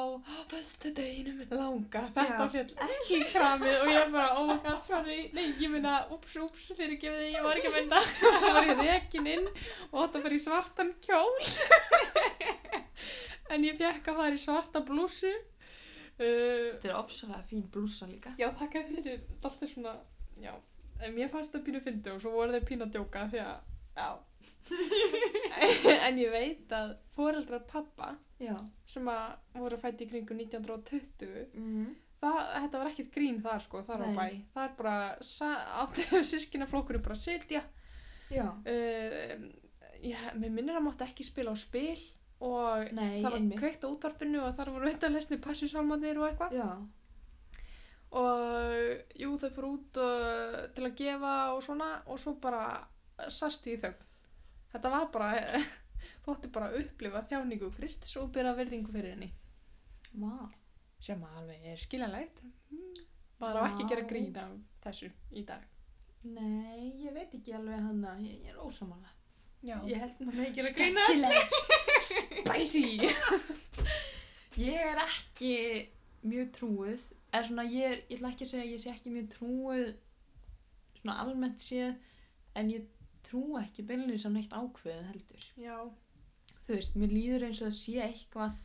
B: fyrstu deginum langa,
A: Já.
B: þetta fjall ekki í kramið og ég bara, oh my god, sorry, nei, ég meina, ups, ups, fyrir ekki við þig, ég var ekki að mynda. og svo var ég rekin inn og þetta var í svartan kjól. en ég fekk að fara í svarta blússu. Uh,
A: Þetta er ofsalega fín blúsa líka.
B: Já, þakka þér fyrir alltaf svona, já, en mér fannst það pínu fyndi og svo voru þeir pínu að djóka því að, já, en ég veit að foreldrar pappa
A: Já.
B: sem að voru fætt í kringum 1920,
A: Mm.
B: það, þetta var ekkert grín þar sko, þar á
A: Nei.
B: bæ, það er bara, sa- áttu sískinaflokkurinn bara að sitja,
A: Já.
B: uh, já, mér minnir að mátti ekki spila á spil og
A: Nei,
B: það var
A: einmitt.
B: kveikt á útvarpinu og þar voru auðvitað lesni passisálmanir og eitthvað
A: Já.
B: og jú þau fór út uh, til að gefa og svona og svo bara sastu í þögn þetta var bara þú ætti bara að upplifa þjáningu Kristus og byrja verðingu fyrir henni
A: Vá.
B: sem alveg er skiljanlegt Mm. bara ekki að gera
A: Já.
B: grín af þessu í dag
A: Nei, ég veit ekki alveg hann að ég, ég er ósamála.
B: já,
A: Ég held maður með ekki að grína.
B: skemmtilegt spicy
A: Ég er ekki mjög trúið, eða svona ég, er, ég ætla ekki að segja að ég sé ekki mjög trúið svona almennt séð, en ég trú ekki beinlega sem neitt ákveðið heldur.
B: já,
A: Þú veist, mér líður eins og það sé eitthvað,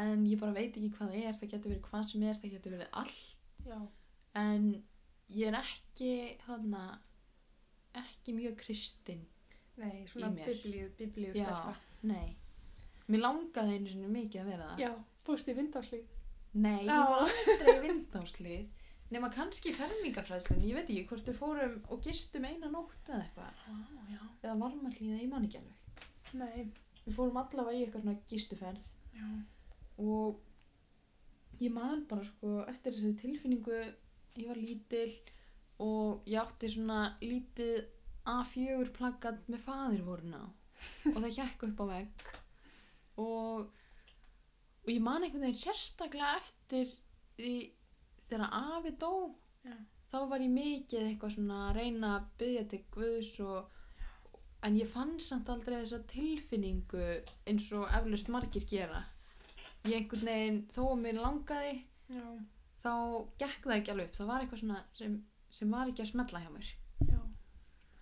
A: en ég bara veit ekki hvað það er, það getur verið hvað sem er, það getur verið allt,
B: já,
A: en ég er ekki þarna ekki mjög kristin
B: Nei, svona
A: Í mér.
B: biblíu, biblíu stelpa.
A: nei mér langaði einu sinni mikið að vera það
B: Já, fórst í vindáslíð.
A: nei,
B: Já.
A: ég var aldrei vindáslið nema kannski fermingafræðslun ég veit ekki hvort við fórum og gistum eina nótt eða eitthvað
B: Vá, já.
A: eða varmahlíða, ég man ekki alveg
B: Nei,
A: við fórum allavega í eitthvað svona gistuferð
B: já.
A: og ég man bara sko eftir þessari tilfinningu ég var lítil og ég átti svona lítið A4 plaggat með faðirvorna og það hjekk upp á vegg og, og ég man einhvern veginn sérstaklega eftir því þegar afi dó
B: Já.
A: þá var ég mikið eitthvað svona að reyna að byggja til Guðs og en ég fann samt aldrei þessa tilfinningu eins og eflaust margir gera ég einhvern veginn, þó að mér langaði
B: Já,
A: þá gekk það ekki alveg upp það var eitthvað svona sem, sem var ekki að smetla hjá mér
B: já.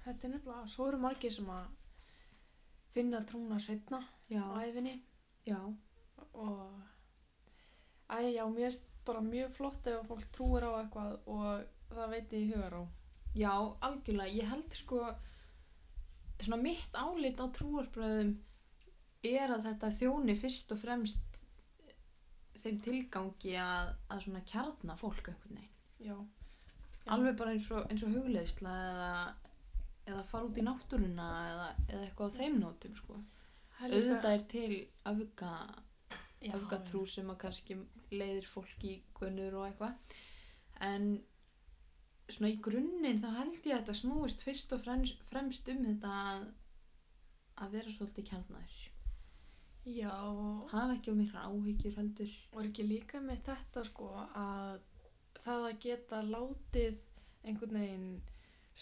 B: Þetta er nefnilega, svo eru margir sem að finna trúna setna
A: já,
B: á æfinni
A: já,
B: og æ, já, mér finnst bara mjög flott ef að fólk trúir á eitthvað og það veiti í hugar á.
A: já, algjörlega ég held sko svona mitt álit á trúarbröðum er að þetta þjóni fyrst og fremst þeim tilgangi að, að svona kjarna fólk einhvern veginn
B: Já. Já.
A: alveg bara eins og, eins og hugleðsla eða, eða fara út í náttúruna eða, eða eitthvað á þeim nótum sko.
B: Það er líka-
A: auðvitað er til öfga
B: Já,
A: öfgatrú sem að kannski leiðir fólk í gunnur og eitthvað en svona í grunninn þá held ég að þetta snúist fyrst og fremst, fremst um þetta að, að vera svolítið kjarnar
B: Já, og
A: hafa ekki um mikla áhyggjur heldur
B: og er ekki líka með þetta sko að það að geta látið einhvern veginn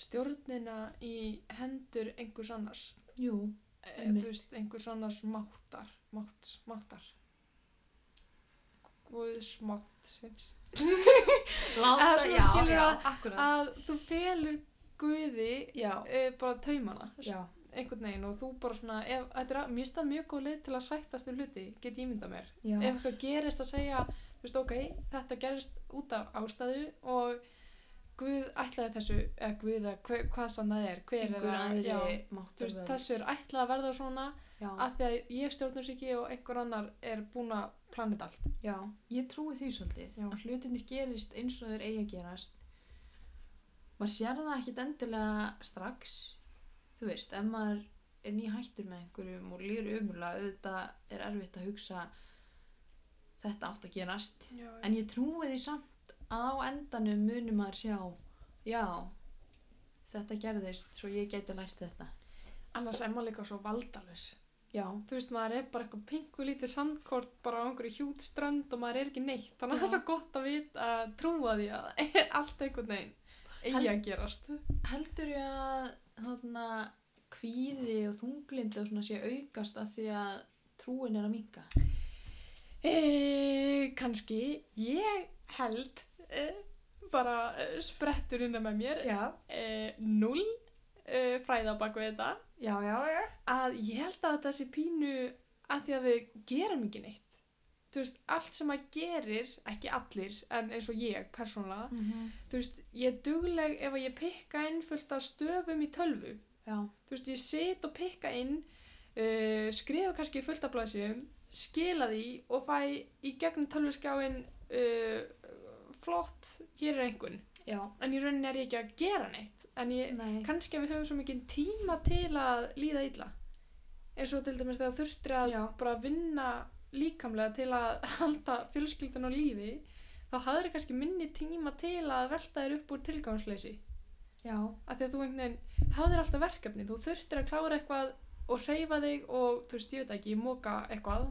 B: stjórnina í hendur einhvers annars
A: jú,
B: Eh,
A: Einmitt.
B: þú veist, einhvers annars máttar mátts, máttar Guðs mátt sinns.
A: láta,
B: Eða svona skilur að-
A: akkurat
B: að þú felur Guði
A: já,
B: e, bara taumana
A: já,
B: einhvern veginn og þú bara svona ef, þetta er að, mér stað mjög góð leið til að sættast við hluti get ég mynda mér
A: já
B: ef eitthvað gerist að segja þú veist ok, þetta gerist út af ástæðu og Guð ætlaði þessu, eða Guð eða hve- hvað sann það er, hver
A: einhver
B: er það já,
A: aðri
B: þú
A: máttur
B: veist, þessu er ætlað að verða svona
A: já,
B: af því að ég stjórnur sig ekki og einhver annar er búin að plana þetta allt
A: já, ég trúi því svolítið
B: Já.
A: að hlutinir gerist eins og þeir eigi að gerast maður sér það ekkit endilega strax þú veist, ef maður er nýhættur með einhverjum og lýr umurlega auðvitað er erfitt að hugsa þetta átt að gerast
B: já,
A: en ég trúi því samt að á endanum munum maður sjá já, þetta gerðist svo ég gæti lært þetta
B: annars er maður líka svo valdalus
A: já,
B: þú veist, maður er bara eitthvað pingu lítið sandkort bara á einhverju hjút strönd og maður er ekki neitt þannig að það er
A: Já.
B: svo gott að við að trúa því að allt einhvern veginn eigi að gerast
A: heldur ég að þarna kvíði og þunglindi og svona sé aukast af því að trúin er að minka
B: E, kannski, ég held e, bara e, sprettur innan með mér,
A: já,
B: e, null e, fræða bak við þetta,
A: já, já, já
B: að ég held að þetta sé pínu að því að við gerum ekki neitt. Þú veist, allt sem maður gerir, ekki allir, en eins og ég persónulega,
A: Mhm.
B: þú veist, ég er dugleg ef að ég pikka inn fullt af stöfum í tölvu.
A: já,
B: Þú veist, ég sit og pikka inn, uh, skrifa kannski fullt af blaðsíðum, skila því og fæ í gegnum tölvuskjáin uh, flott, hér er einhvern.
A: já,
B: En í rauninni er ég ekki að gera neitt. En ég,
A: nei
B: kannski að við höfum svo mikið tíma til að líða illa. Eins og til dæmis þegar þurftir að
A: Já.
B: bara vinna líkamlega til að halda fjölskyldan á lífi, þá hafður kannski minni tíma til að velta þér upp úr tilgangsleysi
A: já,
B: að því að þú einhvern veginn hafðir alltaf verkefni, þú þurftir að klára eitthvað og hreyfa þig og þú veist, ég veit ekki, móka eitthvað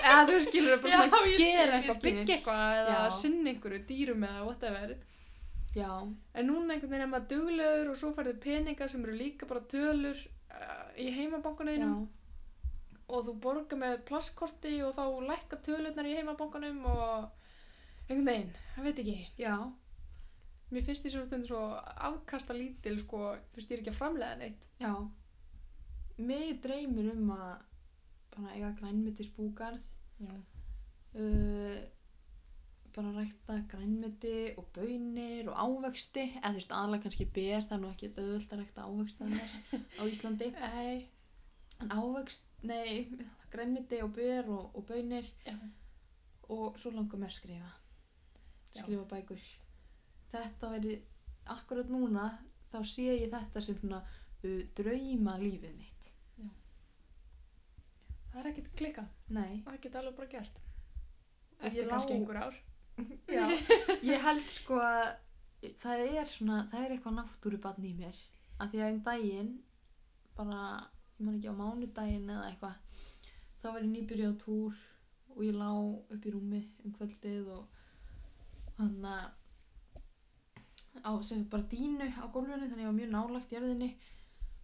B: eða þú skilur bara
A: Já,
B: svona
A: ég skil,
B: gera
A: ég
B: eitthvað,
A: skil.
B: byggja eitthvað eða
A: Já.
B: sinna einhverju dýrum eða whatever
A: já,
B: en núna einhvern veginn er maður duglegur og svo færðu peningar sem eru líka bara tölur uh, í
A: já,
B: heimabankunum og þú borgar með plasskorti og þá lækka tölurnar í heimabankunum og einhvern veginn, það veit ekki
A: já,
B: mér finnst því svolítið svo afkasta lítil sko, þú veist, ég er ekki að framlega neitt
A: já mig dreymir um að bara eiga grænmetisbúgarð
B: Já.
A: uh, bara rækta grænmeti og bönir og ávexti eða þú veist aðalega kannski ber það er nú ekki auðvöld að rækta ávexti annars á Íslandi
B: Nei. Mhm.
A: en ávext, nei, grænmiti og ber og, og bönir
B: Já.
A: og svo langar mér að skrifa
B: Já.
A: skrifa bækur þetta veri, akkurat núna þá sé ég þetta sem svona uh, drauma lífið mitt
B: Það er ekkert klika.
A: nei,
B: Það geta alveg bara gerst.
A: Og
B: Eftir
A: ég lá-
B: kannski einhver ár.
A: já ég held sko að það er svona, það er eitthvað náttúrubann í mér af því að um daginn bara, ég man ekki á mánudaginn eða eitthvað þá var ég nýbyrjuð á túr og ég lá upp í rúmi um kvöldið og hann að á sem sagt bara dínu á gólfinu þannig ég var mjög nálagt jörðinni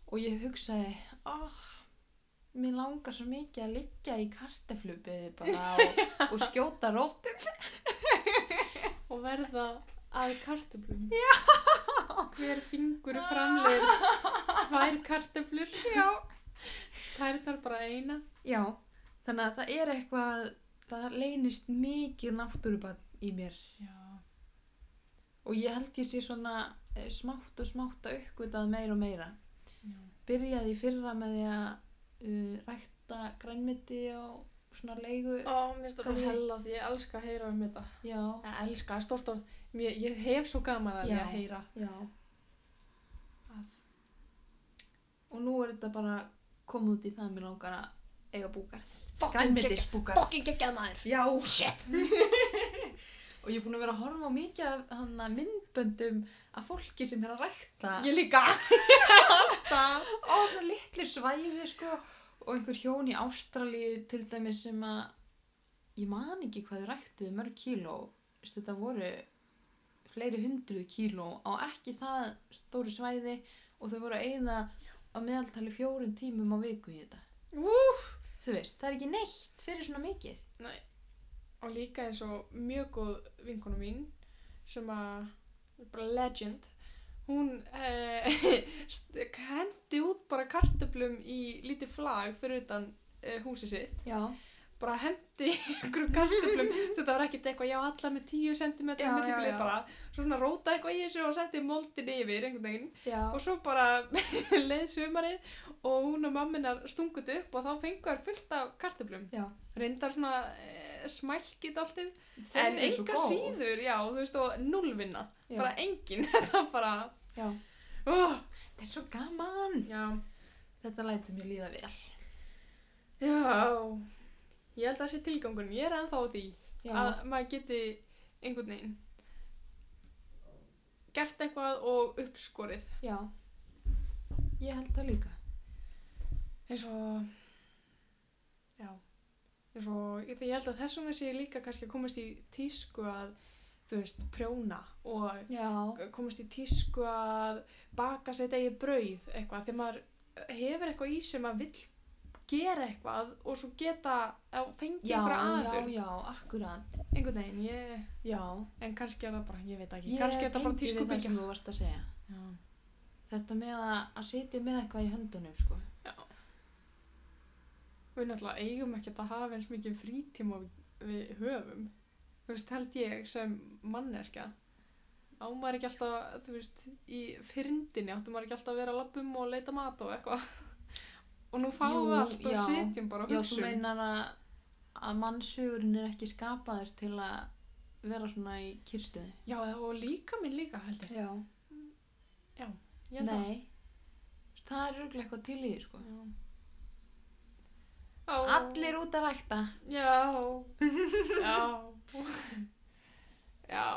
A: og ég hugsaði oh, mér langar svo mikið að liggja í karteflubiði bara og, og skjóta rót
B: Og verða að kartöflum. Já. Hver fingur framlegir tvær kartöflur. Já. Tærnar bara eina.
A: Já, þannig að það er eitthvað, það leynist mikið náttúrubann í mér
B: Já.
A: og ég held ég sé svona eh, smátt og smátt að uppgötað meira og meira.
B: Já.
A: Byrjaði í fyrra með því að uh, rækta grænmiti og svona leigu.
B: Ó, mér finnst það
A: Hvað er-
B: hella því ég elska að heyra um þetta.
A: Já,
B: Ég elska, stort orð. Mér, ég hef svo gaman að
A: Já.
B: því að heyra.
A: já. Og nú er þetta bara komið út í það að mér langar að eiga búgarð. Grænmetisbúgarð.
B: Fokkin geggjað maður.
A: Já, shit Og ég er búin að vera að horfa á mikið af hann að myndböndum af fólki sem er að rækta
B: Ég líka.
A: það Ó, það er litli svæði sko og einhver hjón í Ástralíu til dæmis sem að ég man ekki hvað þau ræktuðu mörg kíló Veist, þetta voru fleiri hundruð kíló á ekki það stóru svæði og þau voru að eigða á meðaltali fjórum tímum á viku í þetta
B: Vú.
A: þú veist, það er ekki neitt fyrir svona mikið
B: Nei. Og líka eins og mjög góð vinkona mín sem að, bara legend, hún eh, st- hendi út bara kartöflum í lítið flag fyrir utan eh, húsið sitt.
A: Já,
B: Bara hendi einhverjum kartöflum, sem það var ekkert eitthvað, já, alla með 10 cm
A: Já, já,
B: millibilið
A: já.
B: bara. Svo svona róta eitthvað í þessu og setti moldin yfir einhvern veginn.
A: já
B: Og svo bara leið sumarið og hún og mamminar stungut upp og þá fengu þær fullt af kartöflum
A: Já,
B: reyndar svona e, smælki dáltið
A: Þau
B: en
A: eru svo
B: enga
A: góð.
B: síður, já, þú veist, og nullvinna
A: Já.
B: bara engin, þetta bara
A: Já.
B: oh,
A: Þetta er svo gaman.
B: já,
A: Þetta lætur mér líða vel.
B: já ég held að það sé tilgangun, ég er ennþá á því að maður geti einhvern veginn gert eitthvað og uppskorið
A: já. Ég held það líka.
B: eins og já eins og ég ég held að þessum sé ég líka kannski að komast í tísku að þú veist, prjóna og
A: Já.
B: komast í tísku að baka sitt eigið brauð eitthvað þegar maður hefur eitthvað í sem maður vill gera eitthvað og svo geta að fengi
A: Já, já,
B: einhverja aður
A: já, akkurat.
B: einhvern veginn, ég,
A: Já.
B: en kannski er það bara ég veit ekki, kannski er það bara
A: tengi
B: tísku
A: við það
B: byggja
A: sem þú varst að segja.
B: já,
A: Þetta með að, að sitja með eitthvað í höndunum, sko.
B: við náttúrulega eigum ekkert að hafa eins mikið frítíma og við höfum þú veist, held ég sem manneska á maður ekki alltaf, þú veist, í fyrndinni áttu maður ekki alltaf að vera að labbum og leita mat og eitthvað og nú fáum við
A: Jú,
B: allt og
A: já.
B: sitjum bara og
A: Já, þú
B: hugsum
A: meinar að, að mannsugurinn er ekki skapaður til að vera svona í kyrstuði.
B: Já, og líka minn líka, held ég.
A: Já.
B: ég held
A: Nei. Það er röglega eitthvað til í því, sko.
B: Það. Já. Ó.
A: Allir út að rækta.
B: Já. Já. Já.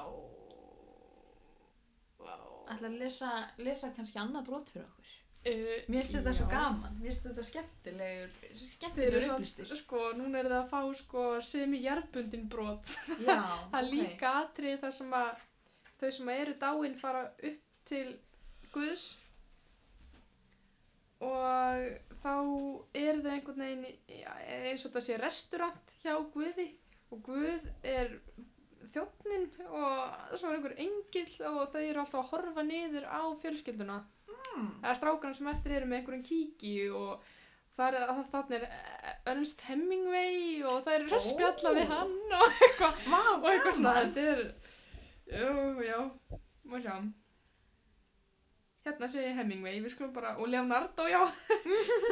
B: Vá.
A: ætla að lesa, lesa kannski annað brot fyrir okkur.
B: Eh,
A: Mér finnst þetta
B: já.
A: svo gaman, mér finnst þetta skemmtilegur,
B: Þeir eru
A: skemmtilegur
B: samt,
A: upplýstur.
B: sko, núna er það að fá, sko, semi-jarbundin brot.
A: Já,
B: Það er líka atrið þar sem að þau sem eru dáin fara upp til Guðs og þá eru þau einhvern veginn í- eins og það sé restaurant hjá Guði og Guð er þjóttnin og svo er einhver engill og þau eru alltaf að horfa niður á fjölskylduna
A: Mm.
B: eða strákarna sem eftir eru með einhverjum kíki og það er, það, þannig er Ernst Hemingway og það eru að
A: Ó.
B: spjalla við hann og eitthvað
A: Vá,
B: og eitthvað svona, þetta er jú, já, má sjá hérna segi ég Hemingway við skulum bara, og Leonardo, já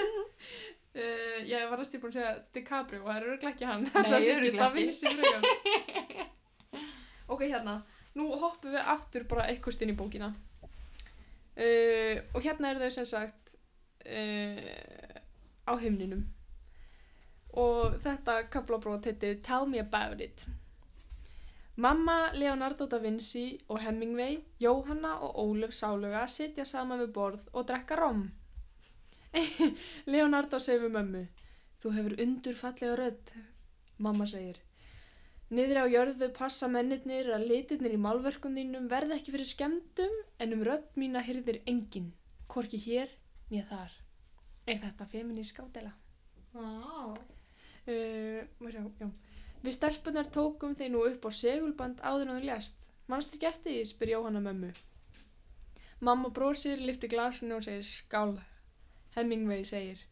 B: uh, ég var að stípa að segja DiCaprio og það eru örugglega ekki hann Það sé
A: örugglega
B: Da
A: ekki.
B: Vinci frekar. ok, hérna nú hoppum við aftur bara eitthvað inn í bókina uh, og hérna eru þau sem sagt uh, á himninum og þetta kaplabrot heitir Tell Me About It Mamma, Leonardo da Vinci og Hemingway, Jóhanna og Ólöf Sáluga sitja saman við borð og drekka rom. Leonardo segir við mömmu, þú hefur undurfallega rödd. Mamma segir, niðri á jörðu passa mennirnir að litirnir í málverkum þínum verða ekki fyrir skemmtum en um rödd mína hyrðir enginn, hvorki hér nýja þar. Er þetta feminísk ádela?
A: Vá.
B: Uh, má sjá, já. Við stelpunar tókum þeir nú upp á segulband áður en þú lest. Manstu ekki eftir því, spyr Jóhanna mömmu. Mamma brosir, lyftir glasinu og segir skál. Hemingway segir.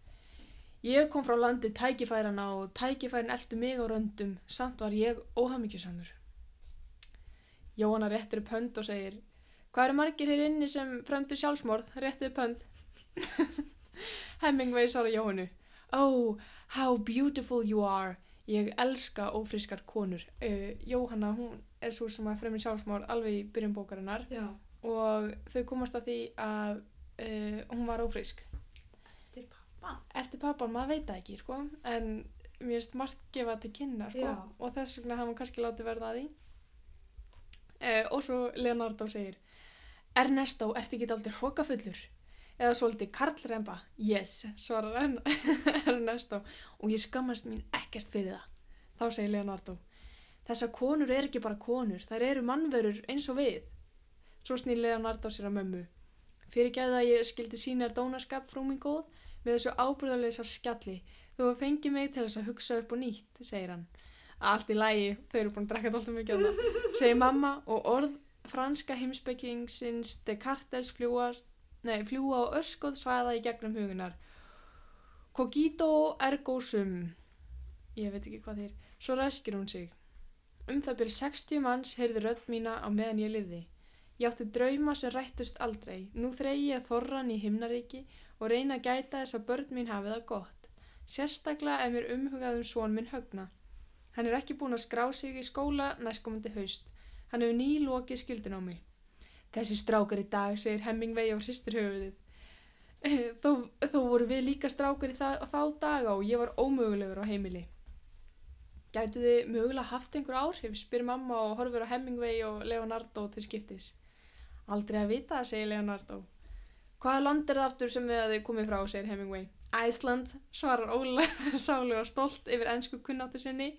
B: Ég kom frá landi tækifærana og tækifærin eldu mig á röndum, samt var ég óhamingjusamur. Jóhanna réttir upp hönd og segir. Hvað eru margir hér inni sem fremdu sjálfsmorð? Réttu upp hönd. Hemingway svarar Jóhannu. Ó, How beautiful you are. Ég elska ófriskar konur. Uh, Jóhanna, hún er svo sem að fremur sjálfsmál alveg í byrjun bókarinnar
A: Já,
B: og þau komast að því að uh, hún var ófrisk.
A: þetta er pappa.
B: Eftir pappan, maður veit það ekki, sko, en mér finnst margt gefa til kynna, sko,
A: Já.
B: og þess vegna hafa hann kannski látið verða að því. Uh, og svo Leonardo segir, Ernesto, ertu ekki aldrei hrokafullur? Eða svolítið karlremba? Yes, svarar Ern- Ernesto, og ég skammast mín ekkert fyrir það. Þá segir Leonardo, þessar konur eru ekki bara konur, þær eru mannverur eins og við. Svo snýr Leonardo sér að mömmu. Fyrir gæða að ég skildi sína dónaskap frú mín góð með þessu ábyrðarleisa skjalli. Þú hefur fengið mig til þess að hugsa upp og nýtt, segir hann. Allt í lagi, þau eru búin að drekka alltaf mikið á það, segir mamma og orð franska heimspekingsins Descartes fljúast, nei, fljúa á örskoð svæða í gegnum hugunar. Cogito ergo sum. Ég veit ekki hvað þeir. Svo ræskir hún sig. Um það byrj 60 manns heyrði rödd mína á meðan ég lifði. Ég átti drauma sem rættust aldrei. Nú þreyji ég þorran í himnaríki og reyna að gæta þess að börn mín hafi það gott. Sérstaklega er mér umhugað um són minn högna. Hann er ekki búinn að skrá sig í skóla næstkomandi haust. Hann hefur nýlokið skildin á mig. Þessi strákar í dag, segir Hemingway og hristir höfuðið. Þó, þó voru við líka strákar í það, þá daga og ég var ómögulegur á heimili. Gætu þið mögulega haft einhver áhrif, spyr mamma og horfur á Hemingway og Leonardo til skiptis. Aldrei að vita, segir Leonardo. Hvaða land er það aftur sem við að þið komið frá, segir Hemingway. Æsland, svarar Ólaf sálega stolt yfir ennsku kunnáttu sinni,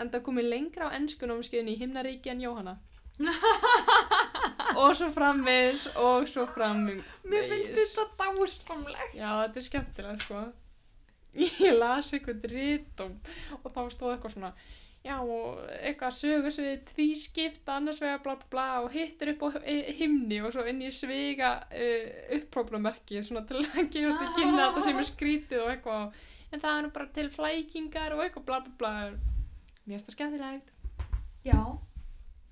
B: en það komið lengra á ennskunámskeiðinu í himnaríki en Jóhanna. og svo framvegis og svo framvegis.
A: Mér finnst þetta dásamlegt.
B: Já, þetta er skemmtilega, sko. Ég las eitthvað rítum og þá stóð eitthvað svona, já, og eitthvað sögur svo við tvískipt, annars vegar bla bla bla og hittir upp á hi- himni og svo inn í sviga uh, uppróflumerki svona til að gefa þetta kynna þetta sem er skrítið og eitthvað. En það er nú bara til flækingar og eitthvað bla bla bla. Mér finnst það skemmtilegt.
A: Já,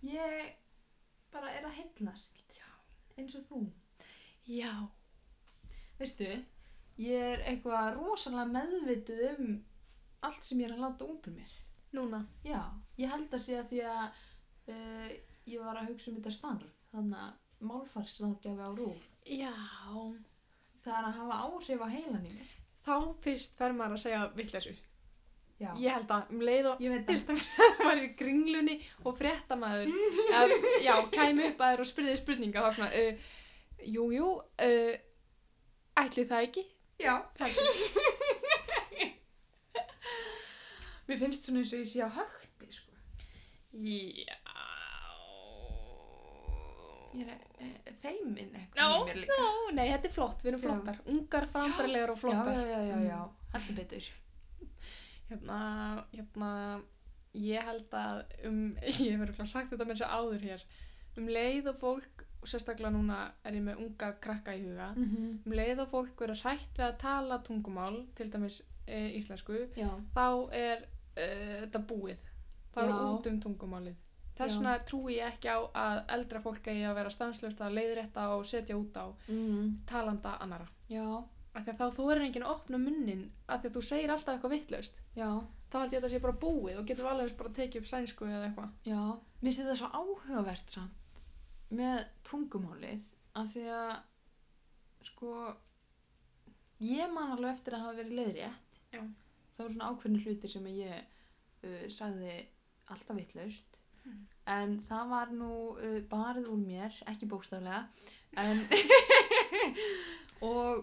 A: ég bara er að heillast eins og þú.
B: Já.
A: Veistu, ég er eitthvað rosalega meðvituð um allt sem ég er að láta út úr mér.
B: Núna.
A: Já, ég held að sé að því að uh, ég var að hugsa um þetta starf, þannig að málfarsráðgjafi á rúf.
B: Já.
A: Það er að hafa áhrif á heilan í mér.
B: Þá fyrst fer maður að segja vittleysu.
A: Já,
B: Ég held að um leið og
A: ég veit
B: til
A: það.
B: dæmis að það var í kringlunni og fréttamaður að, já, kæmi upp að þér og spurði þér spurninga þá svona, uh, jú, jú uh, ætli það ekki
A: Já,
B: það ekki,
A: mér finnst svona eins og ég sé á högti, sko.
B: já
A: Ég er eh, feimin
B: Já,
A: eitthvað í mér líka.
B: já, nei, þetta er flott, við erum
A: Já.
B: flottar ungar, frambarilegar og
A: Já,
B: flottar
A: já, já, já, já, heldur betur.
B: hérna, hérna ég held að um, ég hef verið sagt þetta með þess að áður hér um leið og fólk, og sérstaklega núna er ég með unga krakka í huga
A: Mm -hmm.
B: um leið og fólk vera hrætt við að tala tungumál, til dæmis e, íslensku
A: já,
B: þá er e, þetta búið þá er
A: Já.
B: út um tungumálið þess
A: Já.
B: vegna trúi ég ekki á að eldra fólk eigi að vera stanslöst að leiðrétta og setja út á
A: mm,
B: talanda annara
A: já,
B: af því að þá þú er enginn að opna munnin af því að þú segir alltaf eitthvað vittlaust
A: já,
B: þá held ég að þetta sé bara búið og getur alveg eins bara að tekið upp sænsku eða eitthvað
A: já. Mér finnst þetta svo áhugavert samt með tungumálið af því að, sko, ég man alveg eftir að hafa verið leiðrétt.
B: Já.
A: Það voru svona ákveðni hlutir sem ég uh, sagði alltaf vitlaust. En það var nú uh, barið úr mér, ekki bókstaflega, en og,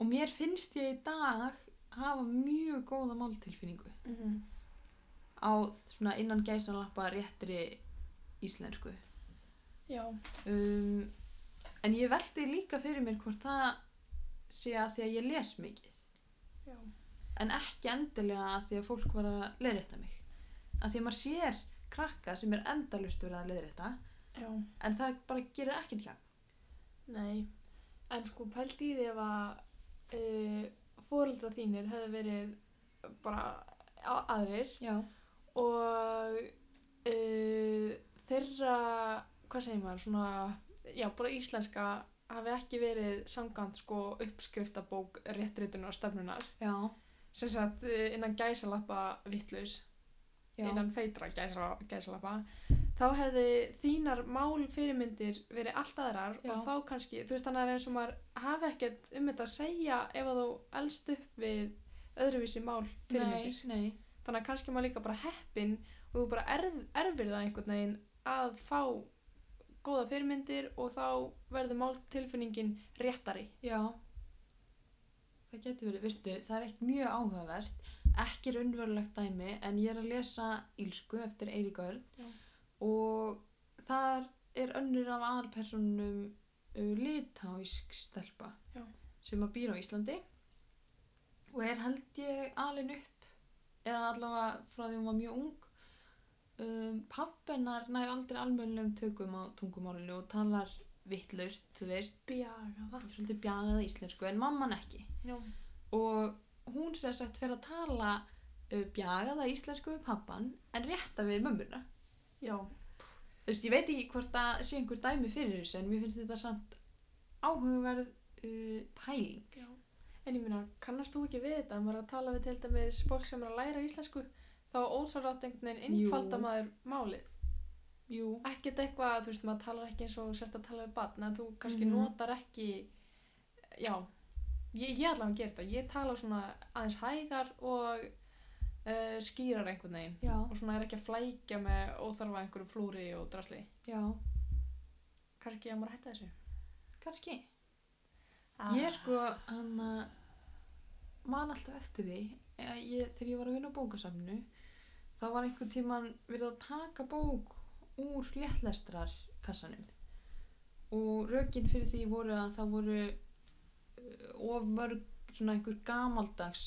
A: og mér finnst ég í dag hafa mjög góða máltilfinningu. Mhm. á svona innan gæsanlappa réttri íslensku
B: já,
A: um, en ég veldi líka fyrir mér hvort það sé að því að ég les mikið
B: já,
A: en ekki endilega að því að fólk var að leiðrétta mig að því að maður sér krakka sem er endalust verið að leiðrétta
B: já
A: en það bara gerir ekkert hjá
B: Nei, en sko pælt í því ef að uh, fóreldra þínir hefðu verið bara a- aðrir
A: já,
B: og uh, þeirra, hvað segir maður, svona, já, bara íslenska hafi ekki verið samkant sko uppskriftabók réttritunar stefnunar
A: já,
B: sem sagt eh, innan gæsalappa vittlaus
A: já,
B: innan feitra gæsala, gæsalappa þá hefði þínar málfyrirmyndir verið allt aðrar
A: Já.
B: og þá kannski, þú veist þannig að eins og maður hafi ekkert um þetta að segja ef að þú elst upp við öðruvísi
A: nei,
B: málfyrirmyndir
A: nei
B: þannig að kannski maður líka bara heppin og þú bara erf, erfir það einhvern veginn að fá góða fyrirmyndir og þá verður máltilfinningin réttari
A: já það getur verið, veistu, það er eitt mjög áhugavert ekki raunverulegt dæmi en ég er að lesa Ílsku eftir Eirík Örn
B: Já.
A: og þar er önnur af aðalpersonum uh, litáísk stelpa
B: Já.
A: sem að býr á Íslandi og er held ég alin upp eða allavega frá því hún var mjög ung um, pappennar nær aldrei almennlegum tökum á tungumálinu og talar vittlaust, þú veist
B: Bjaga það
A: svolítið bjagaða íslensku en mamman ekki
B: Já,
A: og hún sem sagt fyrir að tala uh, bjagaða íslensku við pappan en rétta við mömmuna
B: já,
A: þú veist, ég veit ekki hvort það sé einhver dæmi fyrir þessu en mér finnst þetta samt áhugaverð uh, pæling
B: Já, en ég meina, kannast þú ekki við þetta að maður er að tala við til dæmis fólk sem er að læra íslensku þá ósarrátt einhvern veginn
A: Jú.
B: innfalda maður málið
A: Jú,
B: ekkert eitthvað, þú veist, maður talar ekki eins og sért að tala við batn, en þú kannski
A: Mhm.
B: notar ekki já ég, ég allavega ger þetta, ég tala svona aðeins hægar og uh, skýrar einhvern veginn
A: já,
B: og svona er ekki að flækja með óþarfa einhverju flúri og drasli
A: já,
B: kannski að maður hætta þessu
A: kannski
B: Ah.
A: Ég sko, hann að man alltaf eftir því að ég, þegar ég var að vinna á bókasamnu þá var einhvern tíman verið að taka bók úr léttlestrar kassanum og rökin fyrir því voru að það voru uh, of mörg svona einhver gamaldags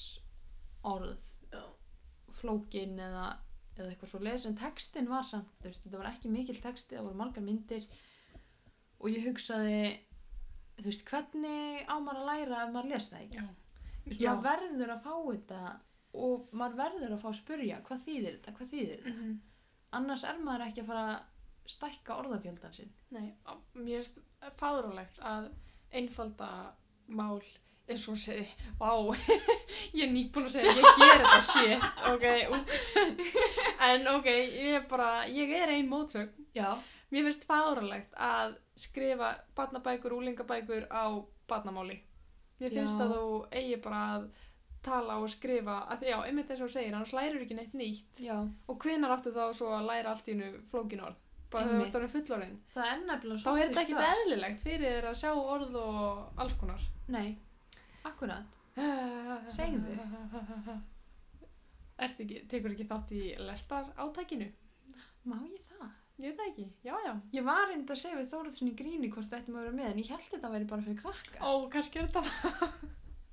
A: orð eh,
B: Já.
A: flókin eða, eða eitthvað svo les en textin var samt, þú veist, þetta var ekki mikill texti það voru margar myndir og ég hugsaði þú veist, hvernig á maður að læra ef maður les það ekki
B: já,
A: Þú veist,
B: já.
A: maður verður að fá þetta og maður verður að fá að spurja hvað þýðir þetta, hvað þýðir þetta
B: Mhm.
A: annars er maður ekki að fara að stækka orðafjöldan sinn
B: Nei, á- mér finnst fárálegt að einfalda mál eins og segi, vá, ég er nýbúin að segja, ég ger þetta shit, ok, úps, en ok, ég er bara, ég er ein mótsögn,
A: já,
B: mér finnst fárálegt að skrifa barnabækur, úlingabækur á barnamáli, mér finnst
A: Já.
B: að þú eigi bara að tala og skrifa, að, já, einmitt eins og þú segir, annars lærir ekki neitt nýtt
A: já
B: og hvenar áttu þá svo að læra allt í hennu flókin orð, bara þegar þú
A: Einmitt.
B: ert orðin fullorinn
A: það er nefnilega
B: þá er þetta
A: stökk.
B: ekkert eðlilegt fyrir þér að sjá orð og alls konar
A: nei, akkurat
B: segðu Ertu ekki, tekur ekki þátt í lestar átækinu?
A: má ég það?
B: Ég veit það ekki, já já
A: ég var einmitt að segja við Þóruðsson í gríni hvort þetta maður að vera með en ég held þetta væri bara fyrir krakka
B: Ó, kannski er þetta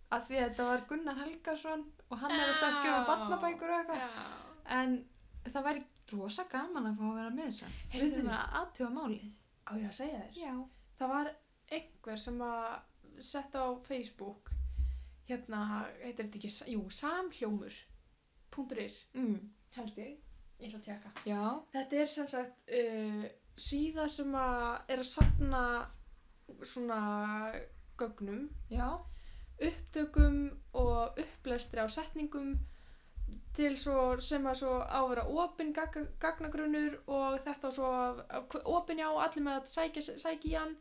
A: af því að þetta var Gunnar Helgason og hann er alltaf að skrifa
B: Já.
A: barnabækur og eitthvað
B: Já.
A: en það væri rosa gaman að fá að vera með þess að við
B: Heyrðu.
A: þurfum að aðtjóða málið
B: Á ég að segja þér
A: já,
B: Það var einhver sem að sett á Facebook hérna, heitir þetta ekki, jú, samhljómur.is
A: Mm.
B: held ég, ég ætla að tjekka.
A: Já.
B: Þetta er sem sagt uh, síða sem að er að safna svona gögnum,
A: Já.
B: upptökum og upplestri á setningum til svo sem að svo á að vera opinn gag gagnagrunnur og þetta svo opinn já, allir með að sækja, sækja í hann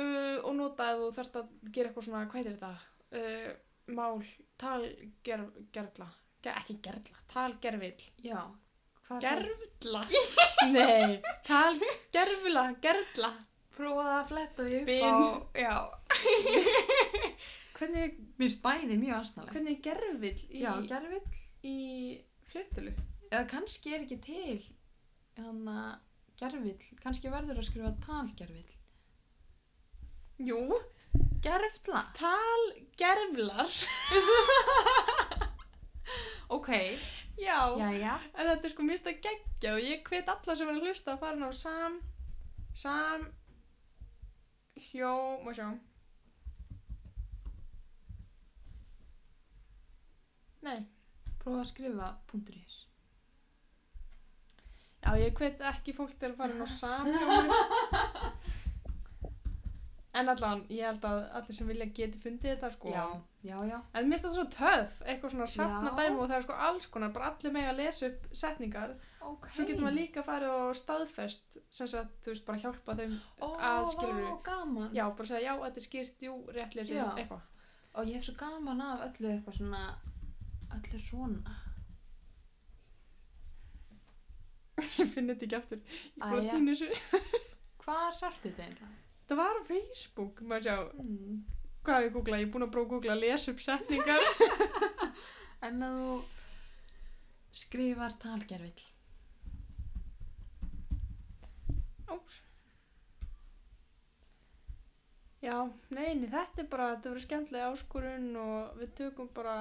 B: uh, og nota ef þú þarft að gera eitthvað svona, hvað heitir þetta uh, mál, talgerla ger, ekki gerla, talgervill
A: Já. Hvað er það?
B: Gerfla Nei, tal, gerfla, gerfla
A: Prófaði að fletta því upp á...
B: Bím, já Hvernig,
A: Mér finnst bæði mjög aðsnalega.
B: hvernig er gerfill í,
A: Já, gerfill.
B: í flertölu?
A: Eða kannski er ekki til þannig að gerfill, kannski verður að skrifa talgerfill.
B: Jú,
A: Gerfla.
B: tal, gerflar
A: Ok.
B: Já,
A: Jæja.
B: en þetta er sko mista geggja og ég hvet alla sem er að hlusta að fara ná sam sam hljó, má sjá Nei
A: Prófaði að skrifa punktur í þess.
B: Já, ég hvet ekki fólk til að fara inn á samhjóður. en allan, ég held að allir sem vilja geti fundið þetta, sko.
A: Já, já.
B: En mér finnst þetta svo töf, eitthvað svona safna
A: Já.
B: dæmi og það er sko alls konar, bara allir með að lesa upp setningar.
A: Ok.
B: Svo getur maður líka farið og staðfest, sem sagt, þú veist, bara hjálpa þeim.
A: Ó,
B: að skilurðu.
A: vá, gaman.
B: Já, bara segja, já, þetta er skýrt, jú, rétt lesið,
A: Já.
B: eitthvað.
A: Og ég hef svo gaman af öllu eitthvað svona, öllu svona.
B: Ég finn þetta ekki aftur. Ég bara
A: Æja.
B: týni þessu.
A: Hvað er saltið þetta einhverja?
B: Þetta var á Facebook, maður sjá,
A: Mm.
B: hvað hef ég googlað, ég er búin að prófa að googla að lesa upp setningar.
A: En að þú skrifar talgerfill.
B: Ás. Já, neini, þetta er bara, þetta verður skemmtilega áskorun og við tökum bara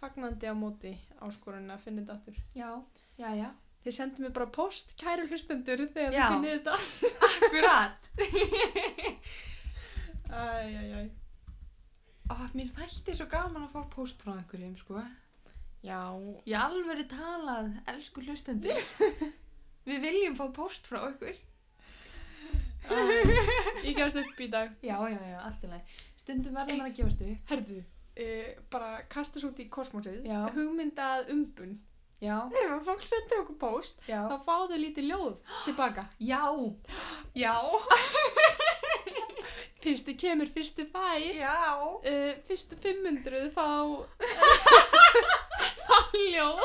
B: fagnandi á móti áskorun að finna þetta aftur.
A: Já, já, já.
B: Þið sendið mér bara post, kæru hlustendur, þegar
A: Já.
B: þið finnið þetta.
A: Akkurat.
B: Æ, æ, æ.
A: Ó, mér þætti svo gaman að fá post frá einhverjum, sko.
B: Já,
A: Ég alveg talað, elsku hlustendur. Við viljum fá post frá okkur.
B: æ, ég gefst upp í dag.
A: Já, já, já, allt í lagi. Stundum verður maður að gefast upp.
B: Herðu, uh, bara kastast út í kosmosið,
A: Já.
B: hugmyndað umbun.
A: Já,
B: Ef að fólk sendir okkur post,
A: já.
B: þá fá þau lítið ljóð tilbaka.
A: Já, já,
B: Fyrstu kemur, fyrstu fær.
A: já.
B: uh, fyrstu 500 fá fá ljóð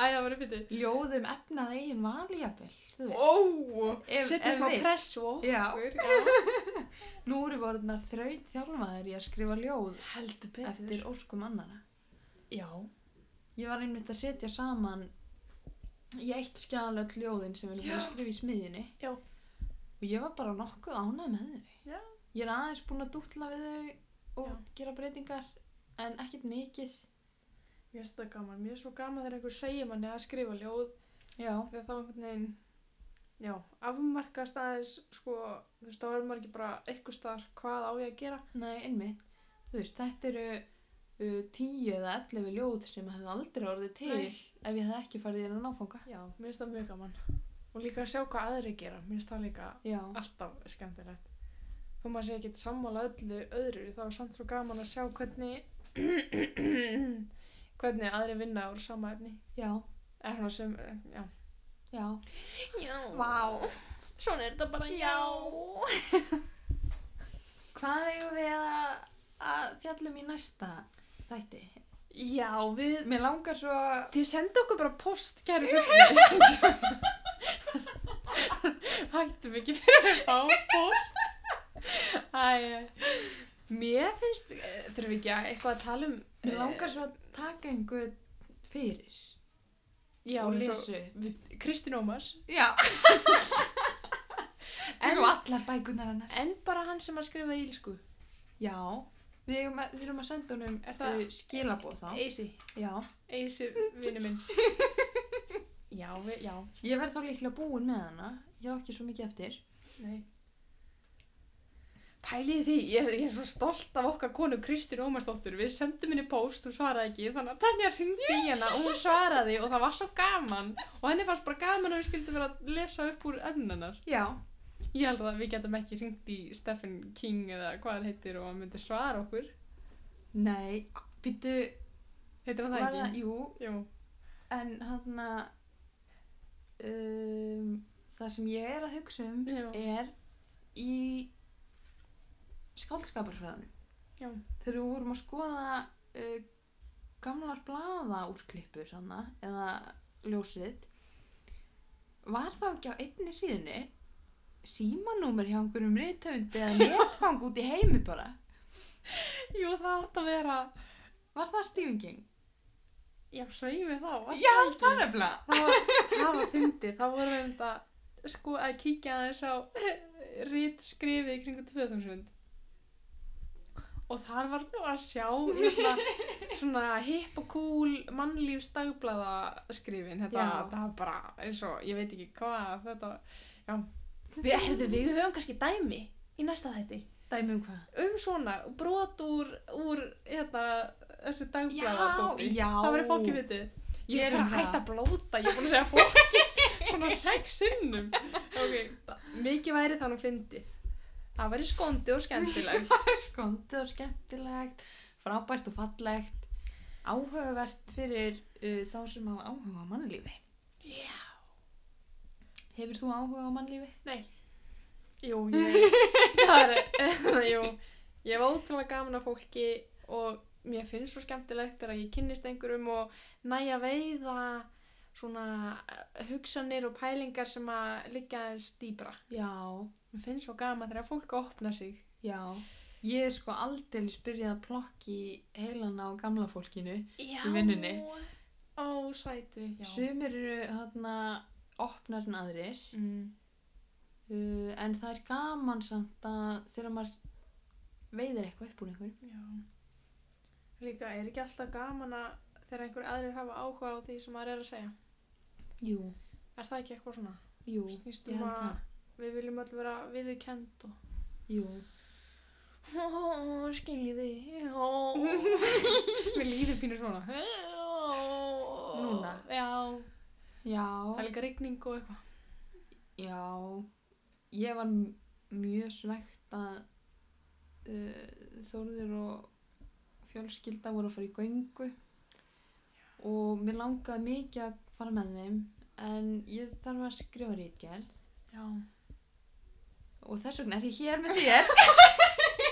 B: Æ, það var uppið
A: Ljóðum efnað eigin valjafel, þú veist.
B: Ó,
A: Ef-
B: setja
A: ef
B: smá
A: við-
B: pressu á
A: Já.
B: okkur já.
A: Nú eru voruðna þraut þjálfaðir í að skrifa ljóð
B: Heldur
A: eftir óskum annara.
B: Já,
A: Ég var einmitt að setja saman í eitt skjala öll ljóðin sem við erum búin að
B: Já.
A: skrifa í smiðjunni.
B: Já.
A: Og ég var bara nokkuð ánægð með þau.
B: Já.
A: Ég er aðeins búin að dútla við þau og
B: Já.
A: gera breytingar en ekkert mikið.
B: mér finnst það gaman Mér er svo gaman þegar einhver segir manni að skrifa ljóð
A: Já.
B: þegar þá einhvern veginn Já, afmarkast aðeins sko, þú veist, þá er maður ekki bara eitthvað staðar hvað á ég að gera
A: Nei, einmitt. Þú veist, þetta eru uh, tíu eða ellefu ljóð sem hefði aldrei orðið til
B: Nei.
A: ef ég hefði ekki farið í þennan áfanga.
B: Já, mér finnst það mjög gaman og líka að sjá hvað aðri gera, mér finnst það líka
A: Já.
B: alltaf skemmtilegt þó maður sé ekki sammála öllu öðru þá er samt svo gaman að sjá hvernig hvernig aðri vinna úr sama efni
A: Já.
B: eða svona sem, eh, já
A: Já.
B: já,
A: Vá.
B: svona er þetta bara já
A: Hvað eigum við að, að fjallum í næsta þætti?
B: já, við
A: Mér langar svo
B: þið sendu okkur bara post, kæru hlustendur. hættum ekki fyrir að fá post æ, æ. mér finnst eh, þurfum við ekki að eitthvað að tala um
A: Mér
B: eh,
A: langar svo að taka einhvern fyrir
B: já,
A: og
B: eins og-
A: lesa upp.
B: við- Kristín Ómars
A: Já.
B: En-
A: en og allar bækunar hennar.
B: en bara hann sem að skrifa ílsku
A: Já. Við eigum að, þurfum að senda honum
B: Er það-
A: þau skilaboð þá.
B: Eisi,
A: Já.
B: Eisi vinnu minn já, við, já
A: Ég verð þá líklega búin með hana. Ég á ekki svo mikið eftir.
B: nei pæliði því, ég er, ég er svo stolt af okkar konu Kristín Ómarsdóttur, við sendum henni post, hún svaraði ekki, þannig að Tanja hringdi í hana og hún svaraði og það var svo gaman og henni fannst bara gaman að við skildum vera að lesa upp úr öfnunar.
A: Já.
B: Ég held að við getum ekki hringt í Stephen King eða hvað hann heitir og hann myndi svara okkur.
A: Nei, býttu,
B: Heitir hann
A: var
B: það
A: það,
B: ekki?
A: jú,
B: Jú.
A: en hann að, um, það sem ég er að hugsa um
B: Já.
A: er í skálskaparfræðanum.
B: Já.
A: Þegar við vorum að skoða uh, gamlar blaða úrklippur hana, eða ljósið, var þá ekki á einni síðunni símanúmer hjá einhverjum reytöfundi eða netfang út í heimi bara?
B: Jú, það átt að vera,
A: Var það Stephen King?
B: já, sveimi þá. var
A: Já,
B: það ekki?
A: það nefnilega.
B: það var, það var fyndið, þá vorum við um þetta sko að kíkja aðeins á rít skrifið í kringu 2000 og þar var að sjá hérna, svona hipp og cool mannlífs dagblaða skrifin þetta,
A: Já.
B: það var bara eins og ég veit ekki hvað þetta, já við, heyrðu, við höfum kannski dæmi í næsta þætti
A: Dæmi um hvað?
B: um svona brot úr, úr hérna, þessu dagblaða
A: já.
B: Um Það verður fólkið vitið. Ég er
A: Gerum
B: að
A: það.
B: hætta að blóta, ég er búin að segja fólki svona sex sinnum. Ok, mikið væri þannig að fyndi. Það væri skondi og skemmtilegt.
A: Skondið og skemmtilegt, frábært og fallegt, áhugavert fyrir uh, þá sem hafa áhuga á mannlífi.
B: Já.
A: Hefur þú áhuga á mannlífi?
B: Nei. Jú, ég, það er, jú, ég hef ótrúlega gaman af fólki og mér finnst svo skemmtilegt þegar ég kynnist einhverjum og næja veiða svona eh, hugsanir og pælingar sem að liggja aðeins dýbra.
A: Já,
B: Mér finnst svo gaman þegar fólk opna sig.
A: já. Ég er sko aldeilis byrjað að plokki heilana á gamla fólkinu.
B: já.
A: vinnunni.
B: Ó, sætu, já.
A: Sumir eru þarna opnar en aðrir.
B: Mm.
A: Uh, en það er gaman samt að þegar maður veiðir eitthvað upp úr einhverju.
B: já. Líka, er ekki alltaf gaman að þegar einhver aðrir hafa áhuga á því sem maður er að segja?
A: Jú,
B: Er það ekki eitthvað svona?
A: jú,
B: Snýst
A: ég
B: um
A: held
B: að
A: það.
B: við viljum öll vera viðurkend og...
A: Jú.
B: Ó, skiljiði, ó. Mér líður pínur svona. Ó.
A: Núna?
B: Já.
A: Já.
B: Það er líka rigning og eitthvað.
A: Já, ég var m- mjög svegt að uh, Þórður og fjölskylda voru að fara í göngu og mér langaði mikið að fara með þeim en ég þarf að skrifa rítgerð
B: Já.
A: og þess vegna er ég hér með þér.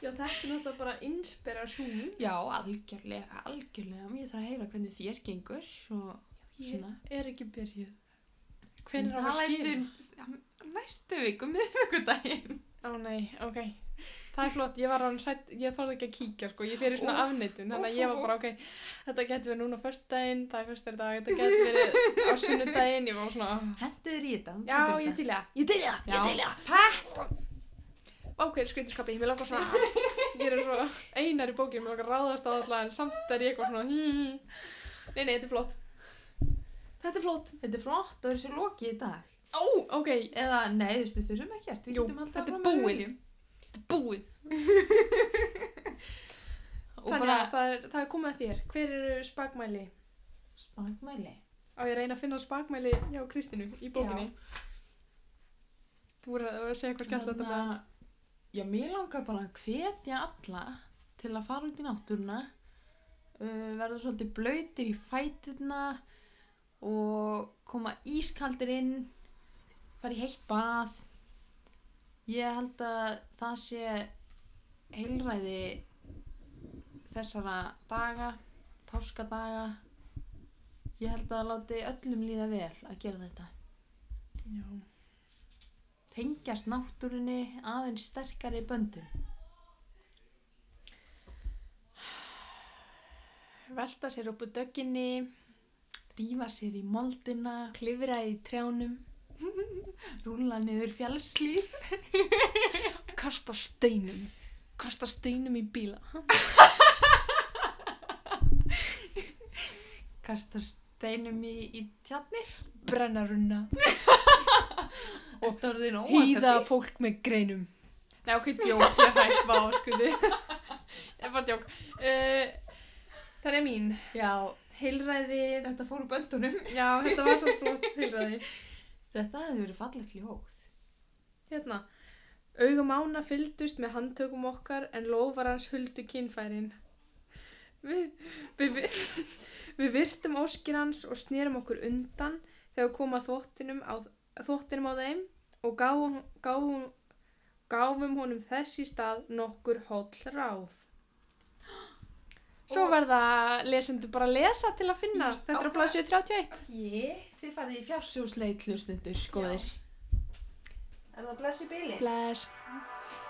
B: Já, þetta er náttúrulega bara inspirasjón.
A: Já, algjörlega, algjörlega, ég þarf að heyra hvernig þér gengur og
B: Ég
A: svona.
B: er ekki byrjuð. Hvernig
A: það lætur næstu viku miðvíkudaginn.
B: Ó nei, ok. Það er flott, ég var án hrætt, ég þorði ekki að kíkja sko, ég fyrir svona
A: Úff,
B: afneitun, þannig
A: úff,
B: að ég var
A: úff,
B: bara ok, þetta getur verið núna á föstudaginn, það er föstudagur í dag, þetta getur verið á sunnudaginn, ég var svona, ah,
A: Hentuður í þetta. þú
B: já,
A: getur
B: ég
A: þetta.
B: til í það, ég til í það, ég
A: Já.
B: til í það, pepp! Ok, skvítiskapi, mér langar svona, ég er svo einar í bókinu, mér langar að ráðast á alla, en samt er ég eitthvað svona, hí, hí. Nei, nei, þetta er flott. Þetta er flott.
A: Þetta er flott, það er sér lokið í dag.
B: Ó, ok,
A: Eða, nei, þú veist, við þurfum ekkert, við
B: Jú,
A: getum alltaf
B: þetta er
A: fram að
B: búið.
A: viljum.
B: þetta er búið.
A: Og
B: Þannig
A: bara
B: að það er, það er komið að þér. Hver eru spagmæli?
A: spangmæli.
B: Á ég að reyna að finna spakmæli hjá Kristínu í bókinni. Þú voru að þú voru að segja eitthvað skemmtilegt um
A: Þannig
B: þetta.
A: að, Hérna, já, mér langar bara að hvetja alla til að fara út í náttúruna, uh, verða svolítið blöytir í fæturna og koma ískaldir inn, fara í heitt bað. Ég held að það sé heilræði þessara daga, páskadaga. Ég held að láti öllum líða vel að gera þetta.
B: Hérna, Já.
A: tengjast náttúrunni aðeins sterkari böndum.
B: Velta sér upp úr dögginni,
A: Dýfa sér í moldina,
B: klifra í trjánum,
A: rúla niður fjallslýð.
B: kasta steinum, kasta steinum í bíla.
A: Kasta steinum í, í tjarni.
B: Brennarunna,
A: Og Þetta voru þín óhægt að
B: hýða fólk með greinum, Nei, ok, djók, ég er hægt, vá, skuði. Ég er bara djók. Uh, það er mín.
A: Já,
B: Heilræði,
A: þetta fór úr böndunum.
B: já, þetta var svo flott heilræði.
A: Þetta hefði verið fallegt ljóð.
B: Hérna. Augum ána fylgdust með handtökum okkar en lofar hans huldu kynfærin. Við, við, við, við virtum óskir hans og snýrum okkur undan þegar kom að þvottinum á, þvottinum á þeim og gáfum, gáfum, gáfum honum þess í stað nokkur hóll ráð. Svo
A: Og-
B: verða lesendur bara að lesa til að finna.
A: Í-
B: Þetta
A: á
B: er á plásu 31.
A: Ég, þið farið í fjársjóðsleit hlustundur, góðir. Er það blessi bíli?
B: Bless.